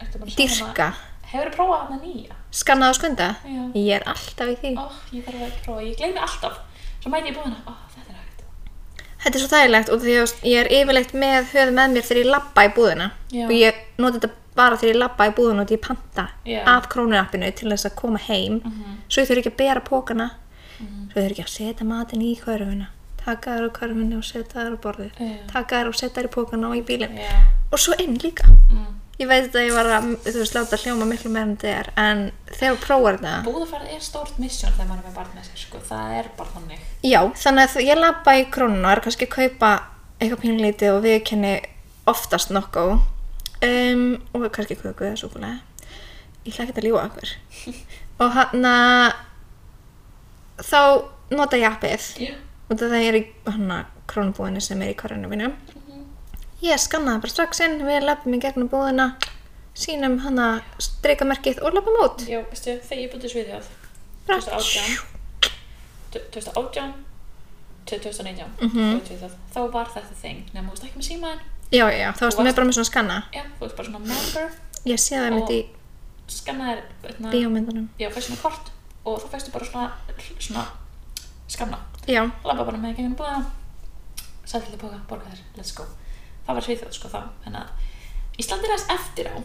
[SPEAKER 2] Ertu bara að sjá
[SPEAKER 1] dyrka
[SPEAKER 2] hana- Hefurðu prófað hana nýja?
[SPEAKER 1] skannaðu og skunda
[SPEAKER 2] Já.
[SPEAKER 1] ég er alltaf í því
[SPEAKER 2] Ó, ég þarf að prófa, ég gleymi alltaf. Svo mæti ég búin að, ó, þetta er hægt.
[SPEAKER 1] Þetta er svo þægilegt og því að ég er yfirleitt með höfð með mér þegar ég labba í búðina
[SPEAKER 2] Já.
[SPEAKER 1] og ég nota þetta bara þegar ég labba í búðina og því ég panta
[SPEAKER 2] Já. Mhm.
[SPEAKER 1] af krónuappinu til þess að koma heim svo ég þurfi ekki að bera pókana svo ég þurfi ekki að setja matinn í körfuna taka þær á körfuna og setja þær á borðið
[SPEAKER 2] Já.
[SPEAKER 1] taka þær og setja þær í pókana og í bílinn
[SPEAKER 2] Já,
[SPEAKER 1] og svo inn líka
[SPEAKER 2] mm.
[SPEAKER 1] ég veit að ég var að, þú veist, láta hljóma miklu meira en þetta er en þegar þú prófar þetta
[SPEAKER 2] Búðaferð er stórt misjón þegar maður er með barn með sér, sko. Það er bara þannig.
[SPEAKER 1] Já, þannig að þú- ég labba í krónun og er kannski að kaupa eitthvað pínlítið og við kenni oftast nokkuð um, og kannski köku eða súkulega ég ætla ekki að ljúa okkur og hann að þá nota ég appið
[SPEAKER 2] Já.
[SPEAKER 1] og það er í hann að krónubúðinu sem er í korrinu mínum ég skannaði bara strax inn við labbum í gegnum búðina sínum hann að streikamerkið og labbum út
[SPEAKER 2] Já, veistu, þegar ég búið í Svíðjóð,
[SPEAKER 1] Bara-
[SPEAKER 2] 2018, 2018, 2019, mm -hmm. Svíðjóð, þá var þetta þing. Nefnum, þú veist ekki með símaðin.
[SPEAKER 1] Já, já, já, þá varstu með
[SPEAKER 2] varst-
[SPEAKER 1] bara með svona skanna
[SPEAKER 2] Já, þú veist bara svona member,
[SPEAKER 1] ég sé það mitt í
[SPEAKER 2] skannaðir, veitna,
[SPEAKER 1] bíómyndunum
[SPEAKER 2] já, fæst svona kort og þá fæstu bara svona, svona, skanna.
[SPEAKER 1] Já,
[SPEAKER 2] labba bara með gegnum búðina sættilega boka, borga þér, let's go það var sviðþjóð sko þá en að Ísland er aðeins eftir á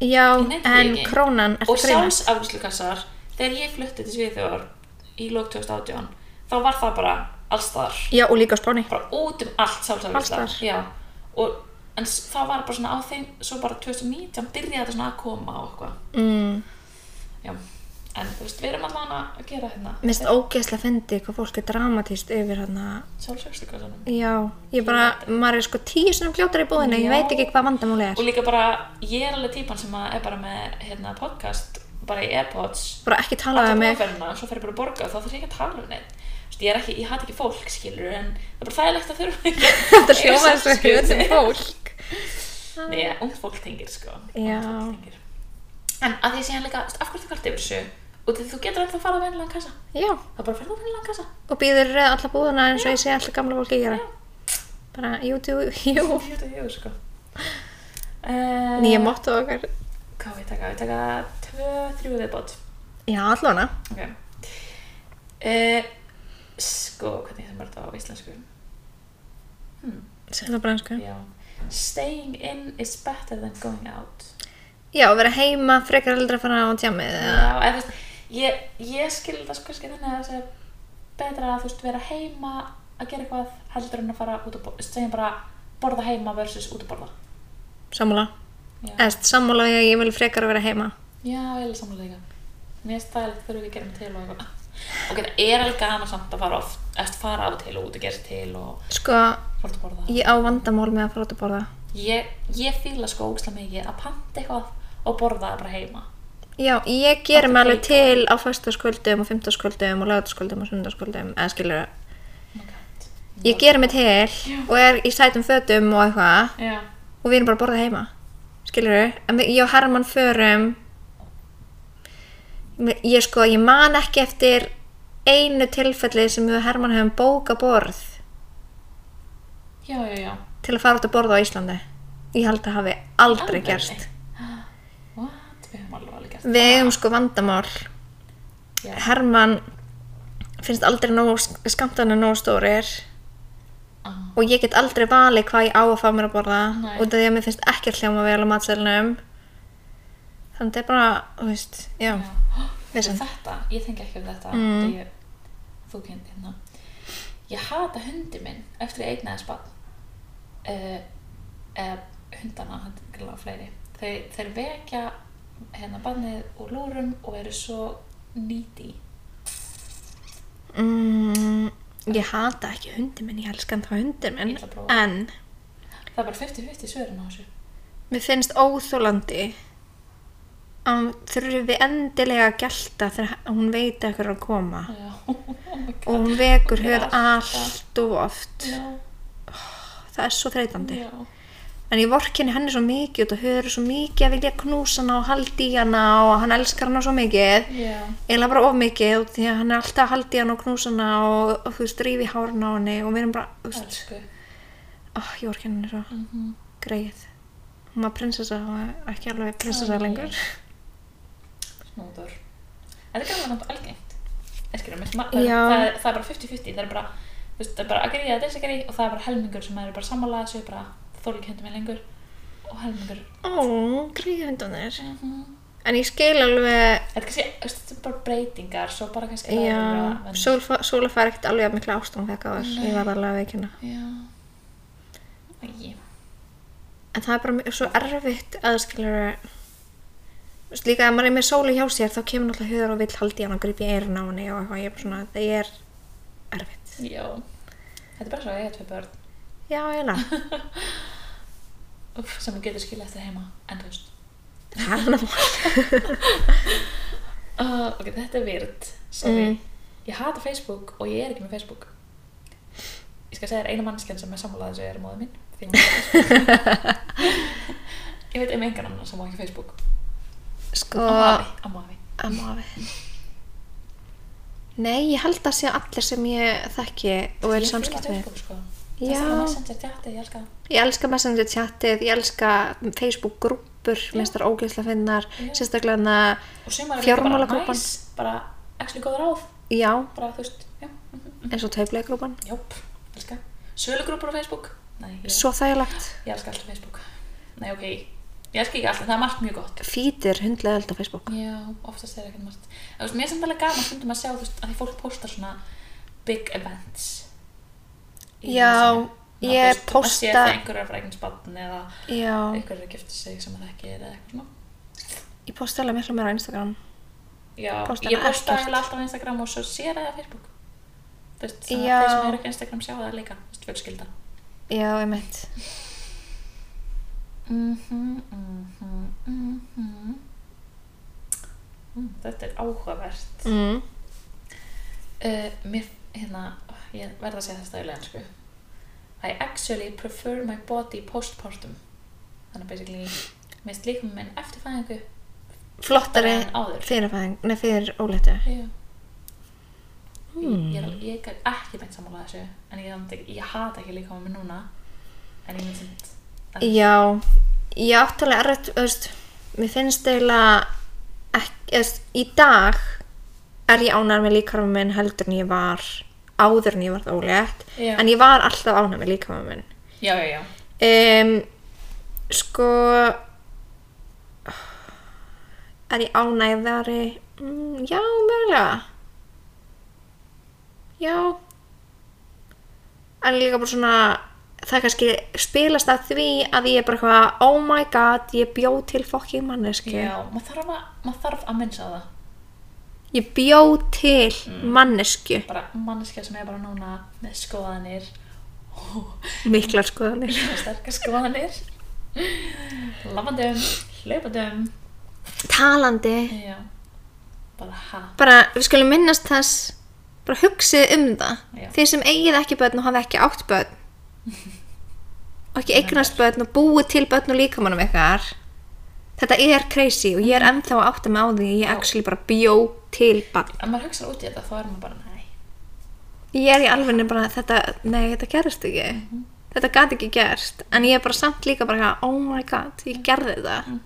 [SPEAKER 1] Já,
[SPEAKER 2] Ég nefndi
[SPEAKER 1] en
[SPEAKER 2] ekki.
[SPEAKER 1] krónan er
[SPEAKER 2] og
[SPEAKER 1] grínast.
[SPEAKER 2] sjálfsaflýslukassar þegar ég flutti til sviðþjóðar í lók 2018 þá var það bara allstaðar
[SPEAKER 1] Já, og líka á Spáni.
[SPEAKER 2] bara út um allt
[SPEAKER 1] Alls
[SPEAKER 2] sjálfsaflýsla
[SPEAKER 1] staðar.
[SPEAKER 2] já og en s- það var bara svona á þeim svo bara 2019 byrjaði þetta svona að koma á eitthvað
[SPEAKER 1] Mm.
[SPEAKER 2] já en þú veist við erum allan að gera hérna
[SPEAKER 1] Mér finnst ógeðslega fyndið hvað fólk er dramatíst yfir hann
[SPEAKER 2] sjálfsaflýslukassanum
[SPEAKER 1] Já, ég bara, maður er sko tíu svona fljótar í búðinu, ég
[SPEAKER 2] Já.
[SPEAKER 1] veit ekki hvað vandamáli
[SPEAKER 2] og
[SPEAKER 1] er.
[SPEAKER 2] líka bara, ég er alveg típan sem að er bara með hérna, podcast, bara í Airpods
[SPEAKER 1] Bara ekki tala
[SPEAKER 2] alltaf
[SPEAKER 1] um mig.
[SPEAKER 2] bóferðina, svo fer ég bara að borga og þá þarf ég ekki að tala um neitt Þú veist, ég er ekki, ég hat ekki fólk skilur en það er bara þægilegt að þurfa ekki
[SPEAKER 1] Þetta hljóma þessu ekki öllum um fólk.
[SPEAKER 2] Nei, ung fólk tengir sko
[SPEAKER 1] Já.
[SPEAKER 2] Ungt fólk tengir. en að því að segja líka, þú veist, af hverju þú kvart yfir þessu og þú getur ennþá að fara á vennilegan kassa
[SPEAKER 1] Já,
[SPEAKER 2] þá bara ferðu á vennilegan kassa
[SPEAKER 1] og býður alla búðuna eins og ég sé alltaf gamla fólki gera.
[SPEAKER 2] Já.
[SPEAKER 1] Bara, jú, jú, jú.
[SPEAKER 2] Ég veit að ég, sko. uh,
[SPEAKER 1] Nýja mottu okkar.
[SPEAKER 2] hvað á ég að taka, Á ég að taka tvö, þrjú viðbót
[SPEAKER 1] Já, allavega.
[SPEAKER 2] Ok. Uh, sko, hvernig sem er þetta á íslensku? Hmm,
[SPEAKER 1] Segðu það bara einsku.
[SPEAKER 2] já. Staying in is better than going out.
[SPEAKER 1] Já, vera heima, frekar aldrei að fara á tjamið. eða-
[SPEAKER 2] Já, eða þú veist, ég, ég skil það sko kannski þannig að það sé betra að þú veist vera heima að gera eitthvað heldur en að fara út að borða, segjum bara borða heima versus út að borða.
[SPEAKER 1] Sammála.
[SPEAKER 2] Já,
[SPEAKER 1] Eðst, sammála ég, ég vil frekar vera heima.
[SPEAKER 2] já ég er samlega líka. Mér er stæðilegt þurfum við að gera mig til og eitthvað. Ok, það er alveg gaman samt að fara oft, eða fara á til og út að gera til og
[SPEAKER 1] Sko,
[SPEAKER 2] fara út að borða.
[SPEAKER 1] Ég á vandamál með að fara út að borða.
[SPEAKER 2] Ég, ég fíla sko ógslag mikið að panta eitthvað og borða það bara heima.
[SPEAKER 1] Já, ég gerir
[SPEAKER 2] Áttu
[SPEAKER 1] mig alveg
[SPEAKER 2] hvíta.
[SPEAKER 1] til á föstaskvöldum og fymtaskvöldum og lögataskvöldum og sundarskvöldum, eða skilur
[SPEAKER 2] Oh my god.
[SPEAKER 1] Ég gerir mig til og er í sætum fötum og eitthvað
[SPEAKER 2] Já.
[SPEAKER 1] og við erum bara að borða heima. skilur við, en við- ég og Herman förum Mér- ég sko, ég man ekki eftir einu tilfelli sem við og Herman hefum bóka borð
[SPEAKER 2] já, já, já.
[SPEAKER 1] til að fara út að borða á Íslandi ég held að hafi aldrei gerst
[SPEAKER 2] What? Við hefum alveg alveg gert
[SPEAKER 1] við eigum sko vandamál
[SPEAKER 2] Já,
[SPEAKER 1] Herman finnst aldrei nógu, skamtana nógu stórir
[SPEAKER 2] Ah.
[SPEAKER 1] og ég get aldrei valið hvað ég á að fá mér að borða
[SPEAKER 2] Nei.
[SPEAKER 1] út af því að mér finnst ekki að hljóma vel á matseðlinum þannig þetta er bara, þú veist, já,
[SPEAKER 2] já.
[SPEAKER 1] Vesen.
[SPEAKER 2] Þetta, ég tengi ekki um þetta
[SPEAKER 1] Mm.
[SPEAKER 2] mm. ég, þú kynnt hérna ég hata hundi minn eftir ég eignaði spann uh, uh, hundana þetta er glæðlega fleiri þeir, þeir vekja hérna bannið úr lúrum og eru svo nýti
[SPEAKER 1] Mm, ég hata ekki hundi minn, ég elskan þá hundi minn
[SPEAKER 2] Ég ætla að prófa.
[SPEAKER 1] en
[SPEAKER 2] það er bara 50-50 svörin á þessu
[SPEAKER 1] mér finnst óþólandi að hún þurfi endilega að gelta þegar hún veit að ekkur er að koma
[SPEAKER 2] já,
[SPEAKER 1] Ah.
[SPEAKER 2] oh my
[SPEAKER 1] og
[SPEAKER 2] god
[SPEAKER 1] hún vekur
[SPEAKER 2] Hún er
[SPEAKER 1] höfð allt og oft
[SPEAKER 2] já,
[SPEAKER 1] það er svo þreytandi
[SPEAKER 2] já,
[SPEAKER 1] En ég vorkinni henni svo mikið út og höfður svo mikið að vilja knúsa hana og haldi í hana og hann elskar hana svo mikið.
[SPEAKER 2] já,
[SPEAKER 1] Eða bara of mikið út því að hann er alltaf að haldi í hana og knúsa hana og, og þú veist, rífi hárun á henni og við erum bara, þú veist,
[SPEAKER 2] elsku
[SPEAKER 1] oh, ég vorkinni henni svo
[SPEAKER 2] mm
[SPEAKER 1] greið. Hún var prinsessa og ekki alveg prinsessa
[SPEAKER 2] Æ.
[SPEAKER 1] lengur.
[SPEAKER 2] snúður en það er gaman að algengt er skilur, mér, það,
[SPEAKER 1] Já.
[SPEAKER 2] það, er- það er bara 50-50 það er bara, þú veist, það er bara að gríða að disagree og það er bara helmingur sem er bara sammálaða svo ég bara þóli ekki hendur mig lengur og helmingur
[SPEAKER 1] Ó, greið hundunir.
[SPEAKER 2] mm
[SPEAKER 1] En ég skil alveg,
[SPEAKER 2] þetta kannski, þú veist, þetta er bara breytingar svo bara kannski það er bara
[SPEAKER 1] já,
[SPEAKER 2] venjur.
[SPEAKER 1] Sóla Sóla fær ekkert alveg að mikla ástum þegar það var,
[SPEAKER 2] Nei.
[SPEAKER 1] ég var alveg að veikina.
[SPEAKER 2] já Æi.
[SPEAKER 1] en það er bara mjög- svo erfitt að skiljur líka ef maður er með sólu hjá sér þá kemur náttúrulega hugur og vill haldi hann og grípi eirun á henni og eitthvað, ég er bara svona, það er erfitt
[SPEAKER 2] já þetta er bara svo að eiga tvei börn
[SPEAKER 1] já, eiginlega,
[SPEAKER 2] Úff, sem þú getur skilja eftir heima en þú veist
[SPEAKER 1] það er hann
[SPEAKER 2] uh, ok, þetta er virð sorry,
[SPEAKER 1] Mm.
[SPEAKER 2] ég hata Facebook og ég er ekki með Facebook ég skal segja þér eina mannskjan sem er sammálaði þessu er móðið minn því hún er Facebook ég veit um engan annan sem á ekki Facebook
[SPEAKER 1] sko,
[SPEAKER 2] amma afi, amma afi
[SPEAKER 1] amma afi nei, ég held að sé allir sem ég þekki og er
[SPEAKER 2] Ég fíla
[SPEAKER 1] samskipt með
[SPEAKER 2] Facebook, sko.
[SPEAKER 1] Já.
[SPEAKER 2] það er messenger tjátti, ég elska það
[SPEAKER 1] ég elska messenger chatið, ég elska Facebook grúpur, minnst þar ógæsla finnar
[SPEAKER 2] Já.
[SPEAKER 1] sérstaklega hann að,
[SPEAKER 2] og sumar er líka bara
[SPEAKER 1] Fjármálagrúppan.
[SPEAKER 2] næs bara actually góð ráð
[SPEAKER 1] já,
[SPEAKER 2] bara þú veist, já, mhm,
[SPEAKER 1] eins og tauplega grúpan
[SPEAKER 2] jáp, elska sölugrúpur á Facebook nei, ég,
[SPEAKER 1] svo þægilegt
[SPEAKER 2] ég elska alltaf Facebook nei, ok, ég elska ekki alltaf, það er margt mjög gott
[SPEAKER 1] fýtir hundlega held á Facebook
[SPEAKER 2] Já, oftast er ekkert margt. En Þú veist, mér er samt alveg gaman stundum að sjá þú veist, að því fólk postar svona big events. í
[SPEAKER 1] Já,
[SPEAKER 2] messenger.
[SPEAKER 1] ég
[SPEAKER 2] Að þú veist, maður sér
[SPEAKER 1] posta-
[SPEAKER 2] þegar einhver er frá eigin spann eða
[SPEAKER 1] Já,
[SPEAKER 2] einhver er að gifta sig sem það ekki er eða eitthvað svona.
[SPEAKER 1] ég posta alveg miklu meira á Instagram
[SPEAKER 2] Já,
[SPEAKER 1] Posta
[SPEAKER 2] ég
[SPEAKER 1] hana
[SPEAKER 2] posta
[SPEAKER 1] ekkert.
[SPEAKER 2] eiginlega alltaf á Instagram og svo sér það á Facebook. Þú veist, þannig
[SPEAKER 1] Já.
[SPEAKER 2] að þeir sem eru ekki á Instagram sjá það líka, þú veist, fjölskylda.
[SPEAKER 1] Já, ég mitt
[SPEAKER 2] Mhm, mhm, mhm. Mm, Þetta er áhugavert.
[SPEAKER 1] mm.
[SPEAKER 2] Uh, mér, hérna, ég verða að segja þetta í leinsku. I actually prefer my body postpartum. Þannig að basically, mér finnst líka minn eftir fæðingu.
[SPEAKER 1] Flottari
[SPEAKER 2] en áður.
[SPEAKER 1] fyrirfæðing, nei fyrir óléttu
[SPEAKER 2] Já.
[SPEAKER 1] Hmm.
[SPEAKER 2] um, Ég, er, ég er ekki beint sammála þessu, en ég, samt ekki- ég hata ekki líka með núna. En ég mynd samt, að-
[SPEAKER 1] Já, ég átti alveg erfitt, þú veist, mér finnst eiginlega ekki, þú veist, í dag er ég ánægð með líkarum minn heldur en ég var áður en ég varð ólétt
[SPEAKER 2] Já.
[SPEAKER 1] en ég var alltaf ánægð með líkarum minn
[SPEAKER 2] já, já, já.
[SPEAKER 1] um, sko er ég ánægðari mm, já, mögulega já en líka bara svona það kannski spilast að því að ég er bara eitthvað oh my god, ég bjó til fokking mannesku
[SPEAKER 2] Já, maður þarf að, maður þarf að minnsa á það.
[SPEAKER 1] ég bjó til mannesku
[SPEAKER 2] Bara manneskja sem er bara núna með skoðanir. Ó,
[SPEAKER 1] miklar skoðanir
[SPEAKER 2] sterkar skoðanir. Lafandum, hlaupandum.
[SPEAKER 1] talandi,
[SPEAKER 2] Já, bara ha.
[SPEAKER 1] bara við skulum minnast þess bara hugsið um það
[SPEAKER 2] Já.
[SPEAKER 1] þið sem eigið ekki börn og hafa ekki átt börn og ekki eignast börn og búið til börn og líkamannum ykkar þetta er crazy og ég er ennþá að átta mig á því að ég actually bara bjó til barn
[SPEAKER 2] En maður hugsa út í þetta, þá er maður bara, nei.
[SPEAKER 1] ég er í alveg bara þetta, nei þetta gerist ekki þetta gat ekki gerst en ég er bara samt líka bara eitthvað, oh my god, ég gerði þetta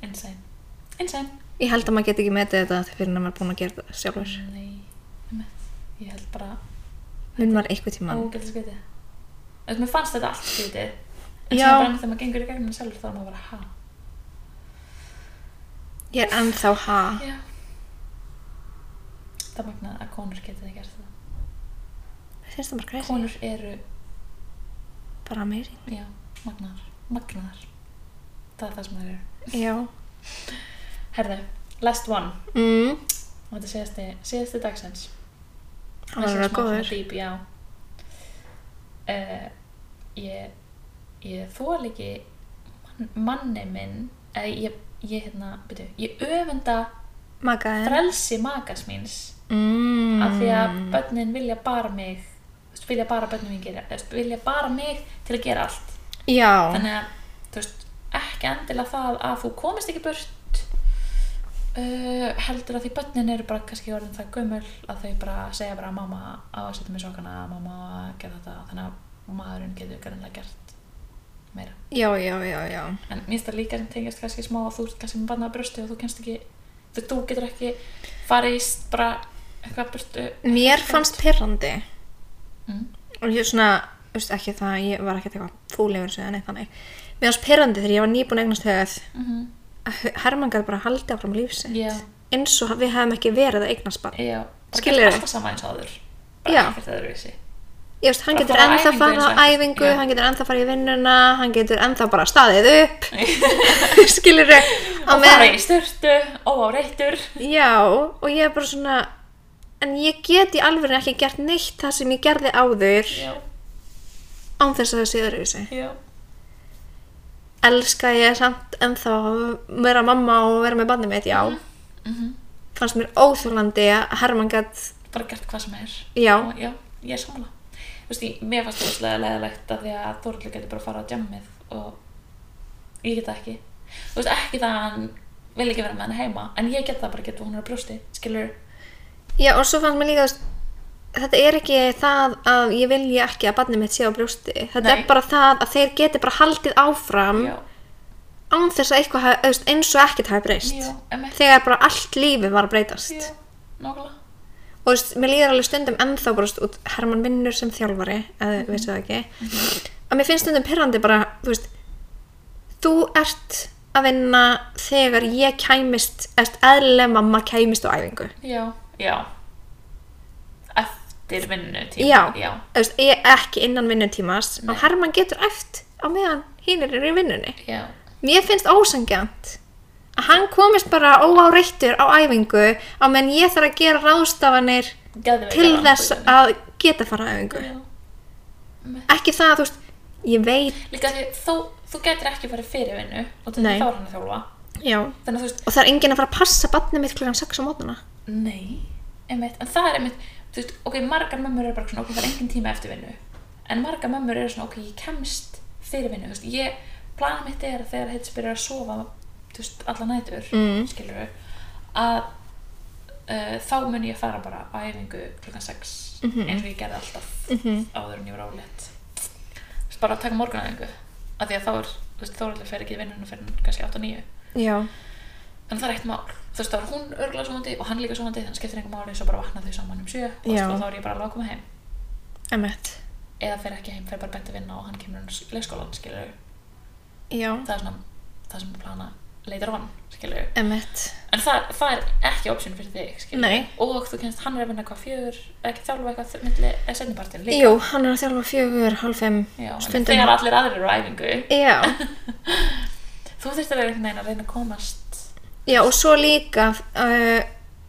[SPEAKER 2] Insane. Insane.
[SPEAKER 1] ég held að maður get ekki metið þetta þegar fyrir en maður er búin að gera þetta sjálfur
[SPEAKER 2] Nei, einmitt. Ég held bara
[SPEAKER 1] mun maður eitthvað tímann
[SPEAKER 2] ógælt skvitið. Þú veist, mér fannst þetta allt skvitið. En
[SPEAKER 1] Já.
[SPEAKER 2] sem bara einmitt þegar maður gengur í gegnum það sjálfur, þá er maður bara, ha.
[SPEAKER 1] ég er ennþá ha
[SPEAKER 2] Já. Það er magnað að konur getið gert það.
[SPEAKER 1] Mér finnst það bara crazy,
[SPEAKER 2] Konur eru,
[SPEAKER 1] bara amazing
[SPEAKER 2] já, magnaðar. Magnaðar. Það er það sem það eru.
[SPEAKER 1] já
[SPEAKER 2] Herðu, last one.
[SPEAKER 1] mm.
[SPEAKER 2] Og þetta er síðasti, síðasti dagsins.
[SPEAKER 1] hann er
[SPEAKER 2] Þessi
[SPEAKER 1] alveg
[SPEAKER 2] smá svona
[SPEAKER 1] góður
[SPEAKER 2] Deep, já. Uh, ég ég þól ekki mann, manni minn, eða ég, ég hérna, byrju, ég öfunda
[SPEAKER 1] magaðin
[SPEAKER 2] frelsi makas míns
[SPEAKER 1] mm.
[SPEAKER 2] af því að börnin vilja bara mig, þú veist, vilja bara börnin mín gera, þú veist, vilja bara mig til að gera allt.
[SPEAKER 1] já,
[SPEAKER 2] Þannig að, þú veist, ekki endilega það að þú komist ekki burt uh, heldur að því börnin eru bara kannski orðin það gömul að þau bara segja bara mamma á að setja mig sokana, mamma á að gera þetta þannig að maðurinn getur grannlega gert meira.
[SPEAKER 1] já, já, já, já
[SPEAKER 2] En mér finnst það líka sem tengjast kannski smá að þú ert kannski með barnað brusti og þú kennst ekki þú, þú getur ekki farið í s- bara eitthvað burtu
[SPEAKER 1] mér fannst pyrrandi
[SPEAKER 2] mm.
[SPEAKER 1] og ég svona, þú veist ekki það að ég var ekkert eitthvað fúlegur sem þannig þannig mér fannst pyrrandi þegar ég var nýbúin að eignast högð
[SPEAKER 2] Mm -hmm.
[SPEAKER 1] að Hermann gæði bara haldið áfram lífsi
[SPEAKER 2] Já,
[SPEAKER 1] eins og við hefum ekki verið að eignast barn
[SPEAKER 2] já. Bara
[SPEAKER 1] Skilurðu?
[SPEAKER 2] gert Alltaf sama eins og áður. Bara
[SPEAKER 1] Já.
[SPEAKER 2] ekkert öðruvísi.
[SPEAKER 1] ég veist, hann
[SPEAKER 2] Bara
[SPEAKER 1] getur
[SPEAKER 2] fara á
[SPEAKER 1] ennþá
[SPEAKER 2] æfingu
[SPEAKER 1] fara
[SPEAKER 2] eins
[SPEAKER 1] á
[SPEAKER 2] og ekkert.
[SPEAKER 1] æfingu
[SPEAKER 2] Já.
[SPEAKER 1] hann getur ennþá fara í vinnuna hann getur ennþá bara staðið upp skilur þau
[SPEAKER 2] og fara í styrtu, óáreittur
[SPEAKER 1] já, og ég er bara svona en ég get í alveg ekki gert neitt það sem ég gerði áður
[SPEAKER 2] já,
[SPEAKER 1] án þess að það sé öðruvísi
[SPEAKER 2] já,
[SPEAKER 1] elska ég samt ennþá að vera mamma og vera með barnið mitt, já
[SPEAKER 2] Mhm,
[SPEAKER 1] fannst mér óþjólandi að Herman gætt
[SPEAKER 2] bara gert hvað sem er
[SPEAKER 1] Já.
[SPEAKER 2] og, já ég er sammála Þú veist, ég- mér fannst það leðilegt að því að Þorlur getur bara að fara á djammið og ég get það ekki Þú veist, ekki það að hann vil ekki vera með hann heima en ég get það bara getur hún er á brjósti skilur,
[SPEAKER 1] já, og svo fannst mér líka þú veist, þetta er ekki það að ég vilja ekki að barnið mitt sé á brjósti þetta
[SPEAKER 2] Nei.
[SPEAKER 1] er bara það að þeir geti bara haldið áfram
[SPEAKER 2] já,
[SPEAKER 1] án þess að eitthvað hafi, þú veist, eins og ekkert hafi breyst
[SPEAKER 2] já, emmitt
[SPEAKER 1] þegar bara allt lífið var að breytast
[SPEAKER 2] já, nákvæmlega
[SPEAKER 1] og þú veist, mér líður alveg stundum ennþá bara, þú veist, út Herman vinnur sem þjálfari eða mm vissu það ekki að mér finnst stundum pyrrandi bara, þú veist þú ert að vinna þegar ég kæmist erst eðlileg mamma kæmist á æfingu
[SPEAKER 2] já, já eftir vinnu
[SPEAKER 1] já,
[SPEAKER 2] tíma já,
[SPEAKER 1] þú veist, ég er ekki innan vinnutímas og Herman getur eft á meðan hinn er í vinnunni
[SPEAKER 2] já,
[SPEAKER 1] mér finnst ósangjant að hann komist bara óáreittur á æfingu á meðan ég þarf að gera ráðstafanir
[SPEAKER 2] Geðveikar
[SPEAKER 1] til þess
[SPEAKER 2] ákvörðun.
[SPEAKER 1] að geta fara á æfingu
[SPEAKER 2] Já.
[SPEAKER 1] ekki það, þú veist, ég veit
[SPEAKER 2] líka því þú, þú getur ekki farið fyrir vinnu og þannig
[SPEAKER 1] Nei.
[SPEAKER 2] þá er hann að þjálfa
[SPEAKER 1] já.
[SPEAKER 2] þannig að þú veist,
[SPEAKER 1] og það er enginn að fara að passa batnið mitt klukkan 6 á mótana
[SPEAKER 2] nei, einmitt, en það er einmitt þú veist, ok, margar mömmur eru bara svona ok, það er engin tíma eftir vinnu en margar mömmur eru svona, ok, ég kemst fyrir vinnu, þú veist, ég, planum mitt er að þegar heits byrjar að sofa þú veist, alla nætur,
[SPEAKER 1] Mm.
[SPEAKER 2] skilur að uh, þá mun ég fara bara á æfingu klukkan 6 eins og ég gerði alltaf
[SPEAKER 1] Mhm.
[SPEAKER 2] áður en ég var álétt þú veist, bara að taka morgunæfingu af því að þá er, þú veist, Þórhildur fer ekki í vinnunum fyrir kannski 8 og 9
[SPEAKER 1] já,
[SPEAKER 2] en það er eitt mál þú veist þá er hún örgulega svonandi og hann líka svonandi þannig skiptir einhver máli svo bara vakna þau saman um sjö og
[SPEAKER 1] Já.
[SPEAKER 2] þú veist, og þá er ég bara alveg að koma heim
[SPEAKER 1] emmett
[SPEAKER 2] eða fer ekki heim, fer bara bent að vinna og hann kemur um leikskólan skilur
[SPEAKER 1] já,
[SPEAKER 2] það er svona það sem ég plana later on skilur
[SPEAKER 1] emmett
[SPEAKER 2] en það, það er ekki option fyrir þig skilur
[SPEAKER 1] Nei.
[SPEAKER 2] og þú kennst hann er að vinna hvað fjögur eða ekki þjálfa eitthvað myndli eða setnipartin líka
[SPEAKER 1] jú, hann er að þjálfa fjögur, halv 5
[SPEAKER 2] Já, en
[SPEAKER 1] stundum
[SPEAKER 2] þegar allir aðrir eru á æfingu
[SPEAKER 1] já.
[SPEAKER 2] þú þurftir að einhvern veginn að reyna að komast
[SPEAKER 1] já, og svo líka uh,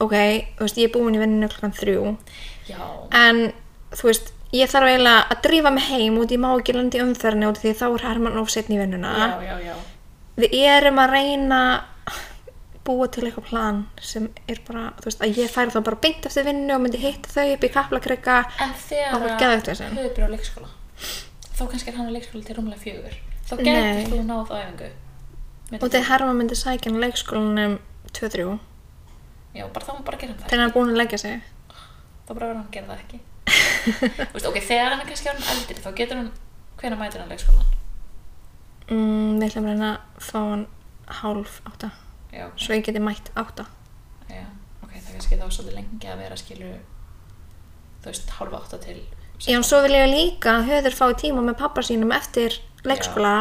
[SPEAKER 1] ok, þú veist, ég er búin í vinninu klukkan 3
[SPEAKER 2] já,
[SPEAKER 1] en, þú veist ég þarf eiginlega að drífa mig heim út í má ekki landi umferðinu út af því að þá er Herman of setni í vinnuna
[SPEAKER 2] já, já, já
[SPEAKER 1] við erum að reyna að búa til eitthvað plan sem er bara, þú veist, að ég færi þá bara beint eftir vinnu og myndi hitta þau upp í kaplakrykka
[SPEAKER 2] En þegar
[SPEAKER 1] Það var geðveikt vesen.
[SPEAKER 2] höfðu byrjað á leikskóla þá kannski er hann á leikskóla til rúmlega fjögur þá
[SPEAKER 1] Nei.
[SPEAKER 2] getur þú náð á æfingu
[SPEAKER 1] Og þegar Herma myndi sækja hann í leikskólanum 2-3
[SPEAKER 2] Já, bara þá má bara gera hann það
[SPEAKER 1] þegar hann er búin að leggja sig.
[SPEAKER 2] þá bara verður hann að gera það ekki Þú veist, ok, þegar hann er kannski orðin eldri þá getur hann, hvenær mætir hann leikskólan
[SPEAKER 1] Mm, við ætlum að reyna að fá hann hálf átta.
[SPEAKER 2] já, ok.
[SPEAKER 1] Svo ég geti mætt átta.
[SPEAKER 2] já, ok, það er kannski þá svolítið lengi að vera skilur þú veist, hálfa átta til
[SPEAKER 1] Já, en svo vil ég líka að höður fái tíma með pappa sínum eftir leikskóla,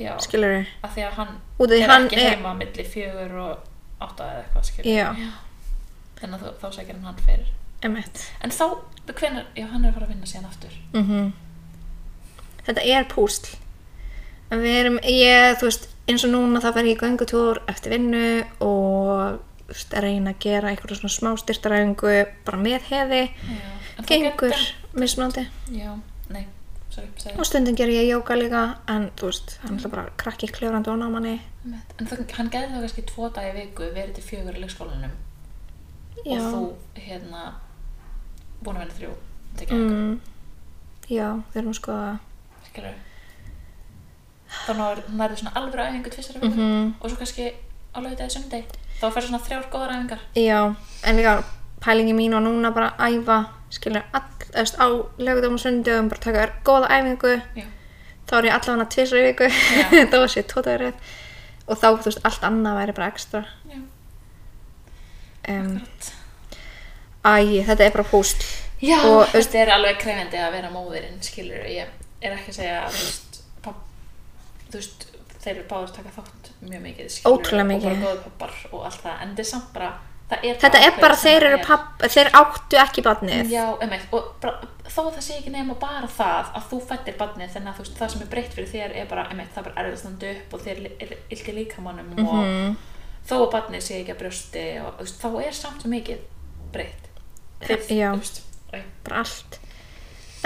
[SPEAKER 2] já,
[SPEAKER 1] skilur við.
[SPEAKER 2] að því að hann
[SPEAKER 1] Út af því
[SPEAKER 2] er
[SPEAKER 1] hann
[SPEAKER 2] ekki
[SPEAKER 1] er-
[SPEAKER 2] heima milli fjögur og átta eða eitthvað skilur
[SPEAKER 1] Já.
[SPEAKER 2] þannig að þá, þá sækir hann hann fyrir
[SPEAKER 1] Emmett.
[SPEAKER 2] en þá, hvenær, já, hann er að fara að vinna síðan aftur
[SPEAKER 1] Mm Þetta er púsl. En við erum, ég, þú veist, eins og núna þá fer ég í göngutúr eftir vinnu og þú veist, að reyna að gera einhverja svona smá styrtaræfingu bara með heði,
[SPEAKER 2] já. En þá
[SPEAKER 1] gengur,
[SPEAKER 2] gæti
[SPEAKER 1] mismunandi.
[SPEAKER 2] hann- já, nei, sorry, sorry.
[SPEAKER 1] Og stundum ger ég jóka líka, en þú veist, hann er bara krakki kljóðrandi og námanni.
[SPEAKER 2] Einmitt. En það, hann gæði þá kannski tvo dagi í viku verið til fjögur í leikskólanum
[SPEAKER 1] Já.
[SPEAKER 2] og þú hérna búin að vinna þrjú tekið mm.
[SPEAKER 1] Mm, já, við erum sko að...
[SPEAKER 2] skilur þá nærðu nærðu svona alveg æfingu tvisar viku
[SPEAKER 1] Mhm.
[SPEAKER 2] og svo kannski á lögudegi sundi þá fer svona þrjár góðar æfingar
[SPEAKER 1] Já, en líka pælingi mín og núna bara að æfa skilur all, eðst, á lögutum og sundugum bara taka þér góða æfingu
[SPEAKER 2] já,
[SPEAKER 1] þá er ég allavega að tvisra í viku
[SPEAKER 2] Já.
[SPEAKER 1] þá sé tótaður rétt og þá, þú veist, allt annað væri bara ekstra
[SPEAKER 2] já,
[SPEAKER 1] um,
[SPEAKER 2] grætt
[SPEAKER 1] Æ, þetta er bara púsl
[SPEAKER 2] já,
[SPEAKER 1] Og,
[SPEAKER 2] þetta er alveg krefendi að vera móðirinn skilur, ég er ekki að segja að þú veist, papp, þú veist þeir eru báður að taka þátt mjög mikið skilur,
[SPEAKER 1] Ótrúlega
[SPEAKER 2] og bara
[SPEAKER 1] mikið.
[SPEAKER 2] góðu pappar og allt það, en þetta er samt bara það er
[SPEAKER 1] Þetta er
[SPEAKER 2] ákveðið
[SPEAKER 1] bara,
[SPEAKER 2] sem
[SPEAKER 1] þeir
[SPEAKER 2] það
[SPEAKER 1] eru
[SPEAKER 2] er.
[SPEAKER 1] papp, þeir áttu ekki barnið
[SPEAKER 2] Já, emeitt, og bara, þó að það sé ekki nema bara það að þú fættir barnið þannig að þú veist, það sem er breytt fyrir þér er bara, emeitt, það er bara erfið að standa upp og þér er illt í líkamannum
[SPEAKER 1] Mhm.
[SPEAKER 2] og þó að barnið sé ekki að brjósti og þú veist, þá er samt svo mikið breytt. Þið,
[SPEAKER 1] Já.
[SPEAKER 2] Þú veist, æ,
[SPEAKER 1] bara allt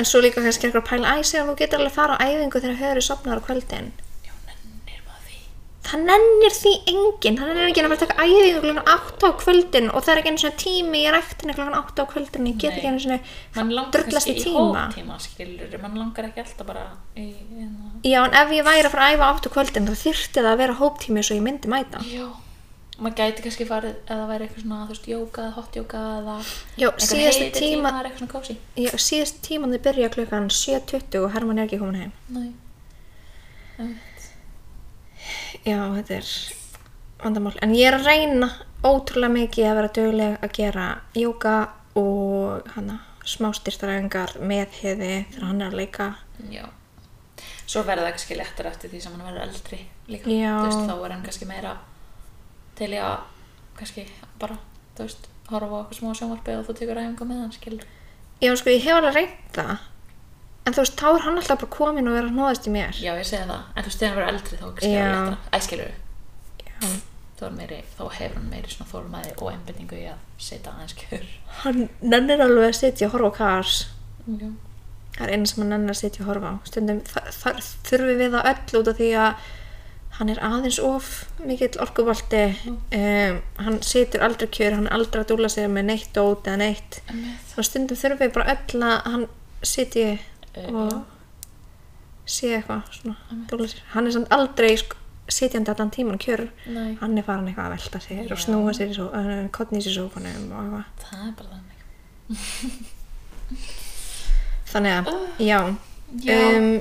[SPEAKER 1] En svo líka kannski eitthvað að pæla Æ, segja, þú getur alveg að fara á æfingu þegar höfður sopnar á kvöldin
[SPEAKER 2] já, nennir maður því.
[SPEAKER 1] Það nennir því enginn, það nennir enginn að vera að taka æfingu klokkan 8 á kvöldin og það er ekki einu svona tími í ræktinu klokkan 8 á kvöldin ég get
[SPEAKER 2] Nei.
[SPEAKER 1] ekki einu svona
[SPEAKER 2] Man langar
[SPEAKER 1] drullast
[SPEAKER 2] kannski
[SPEAKER 1] í
[SPEAKER 2] í
[SPEAKER 1] tíma.
[SPEAKER 2] hóptíma, skilur, man langar ekki alltaf bara í, hérna,
[SPEAKER 1] Já, en ef ég væri að fara að æfa 8 á kvöldin þá þyrfti það að vera hóptími svo ég myndi mæta
[SPEAKER 2] já, maður gæti kannski farið, eða væri eitthvað svona, þú veist, jóka, hotjóka eða
[SPEAKER 1] Já,
[SPEAKER 2] einhver
[SPEAKER 1] síðasti
[SPEAKER 2] heiti
[SPEAKER 1] tíma-
[SPEAKER 2] er eitthvað svona kósi.
[SPEAKER 1] Já, síðast tíman þið byrja klukkan 7.20 og Herman er ekki komin heim
[SPEAKER 2] Nei.
[SPEAKER 1] Já, þetta er vandamál en ég er að reyna ótrúlega mikið að vera dugleg að gera jóka og hana smástyrtaræfingar með heði þegar hann er að leika
[SPEAKER 2] Já. Svo verður það kannski léttar eftir því sem hann verður eldri líka.
[SPEAKER 1] Já.
[SPEAKER 2] Þú veist, þá er hann kannski meira til í að kannski bara, þú veist, horfa á okkur smá sjónvarpi og þú tekur æfingu með hann, skilur.
[SPEAKER 1] Já, sko, ég hef alveg reynt það. En þú veist, þá er hann alltaf bara komin og er að hnóðast í mér.
[SPEAKER 2] Já, ég segi það. En þú veist, þegar hann verður eldri þá kannski
[SPEAKER 1] Já.
[SPEAKER 2] er hann léttara. Æ, skilur,
[SPEAKER 1] Já.
[SPEAKER 2] þá, er meiri, þá hefur hann meiri svona þólmaði og einbindingu í að setja aðeins kjör.
[SPEAKER 1] Hann nennir alveg að sitja og horfa á kars.
[SPEAKER 2] Já.
[SPEAKER 1] Það er eina sem hann nennir að sitja og horfa á. Stundum þar, þar þurfum við það öll út af því að hann er aðeins of mikill orkubolti. Um, hann situr aldrei kjör, hann er aldrei að dúla sér með neitt dót eða neitt.
[SPEAKER 2] Emmið.
[SPEAKER 1] Þannig að stundum þurfum við bara öll að hann sitji
[SPEAKER 2] Eh,
[SPEAKER 1] og
[SPEAKER 2] já.
[SPEAKER 1] sé eitthvað svona dúla sér. Hann er samt aldrei sko, sitjandi allan tíman kjör.
[SPEAKER 2] Nei.
[SPEAKER 1] hann er farin eitthvað að velta sér og
[SPEAKER 2] Já.
[SPEAKER 1] snúa sér í svo, uh, kottnís í sófanum og eitthvað.
[SPEAKER 2] Það er bara þannig.
[SPEAKER 1] Þannig að, já.
[SPEAKER 2] Ah, Já.
[SPEAKER 1] Um,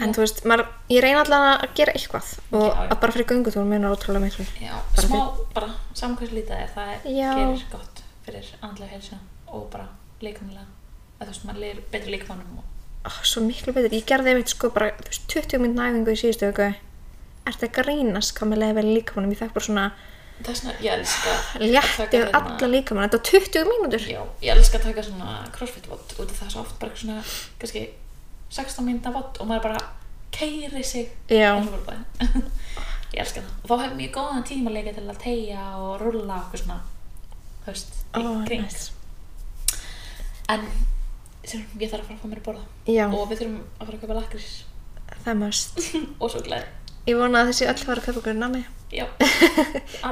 [SPEAKER 1] en þú veist, maður, ég reyna allan að gera eitthvað og
[SPEAKER 2] Já, já.
[SPEAKER 1] að bara fyrir göngutúr munar ótrúlega miklu.
[SPEAKER 2] Já,
[SPEAKER 1] Bara
[SPEAKER 2] smá, bara saman hversu lítið það er, það er,
[SPEAKER 1] Já.
[SPEAKER 2] gerir gott fyrir andlega helsa og bara líkamlega, að þú veist, maður lir betri líkamanum og
[SPEAKER 1] Oh, svo miklu betur. Ég gerði einmitt sko bara þú veist, 20 minn næfingu í síðustu viku. Ertu að grínast hvað með leiði vel í líkamanum? Ég fekk bara svona
[SPEAKER 2] það er svona, ég elska að taka
[SPEAKER 1] létti yfir
[SPEAKER 2] hérna-
[SPEAKER 1] alla líkamann. Þetta var 20 mínútur.
[SPEAKER 2] Já, ég elska að taka svona crossfit vott út af það er svo oft bara eitthvað svona, kannski 16 mínúta vott og maður bara keiri sig
[SPEAKER 1] Já.
[SPEAKER 2] eins og bara bara. Ég elska það og þá hefur mjög góðan tíma að leika til að tegja og rulla okkur svona, þú veist, í
[SPEAKER 1] Ó,
[SPEAKER 2] kring
[SPEAKER 1] nice.
[SPEAKER 2] En, sem, ég þarf að fara að fá mér að borða
[SPEAKER 1] Já,
[SPEAKER 2] og við þurfum að fara að köpa lakrís
[SPEAKER 1] það mest.
[SPEAKER 2] og svo glæði
[SPEAKER 1] Ég vona að þessi öll var að köpa okkur nami.
[SPEAKER 2] já,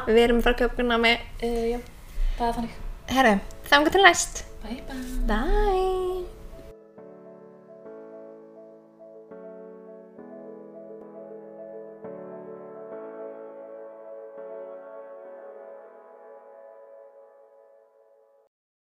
[SPEAKER 1] Við erum að fara að köpa okkur nami
[SPEAKER 2] uh, já, það er þannig
[SPEAKER 1] Herru, þangar til næst.
[SPEAKER 2] bye bye
[SPEAKER 1] Bye!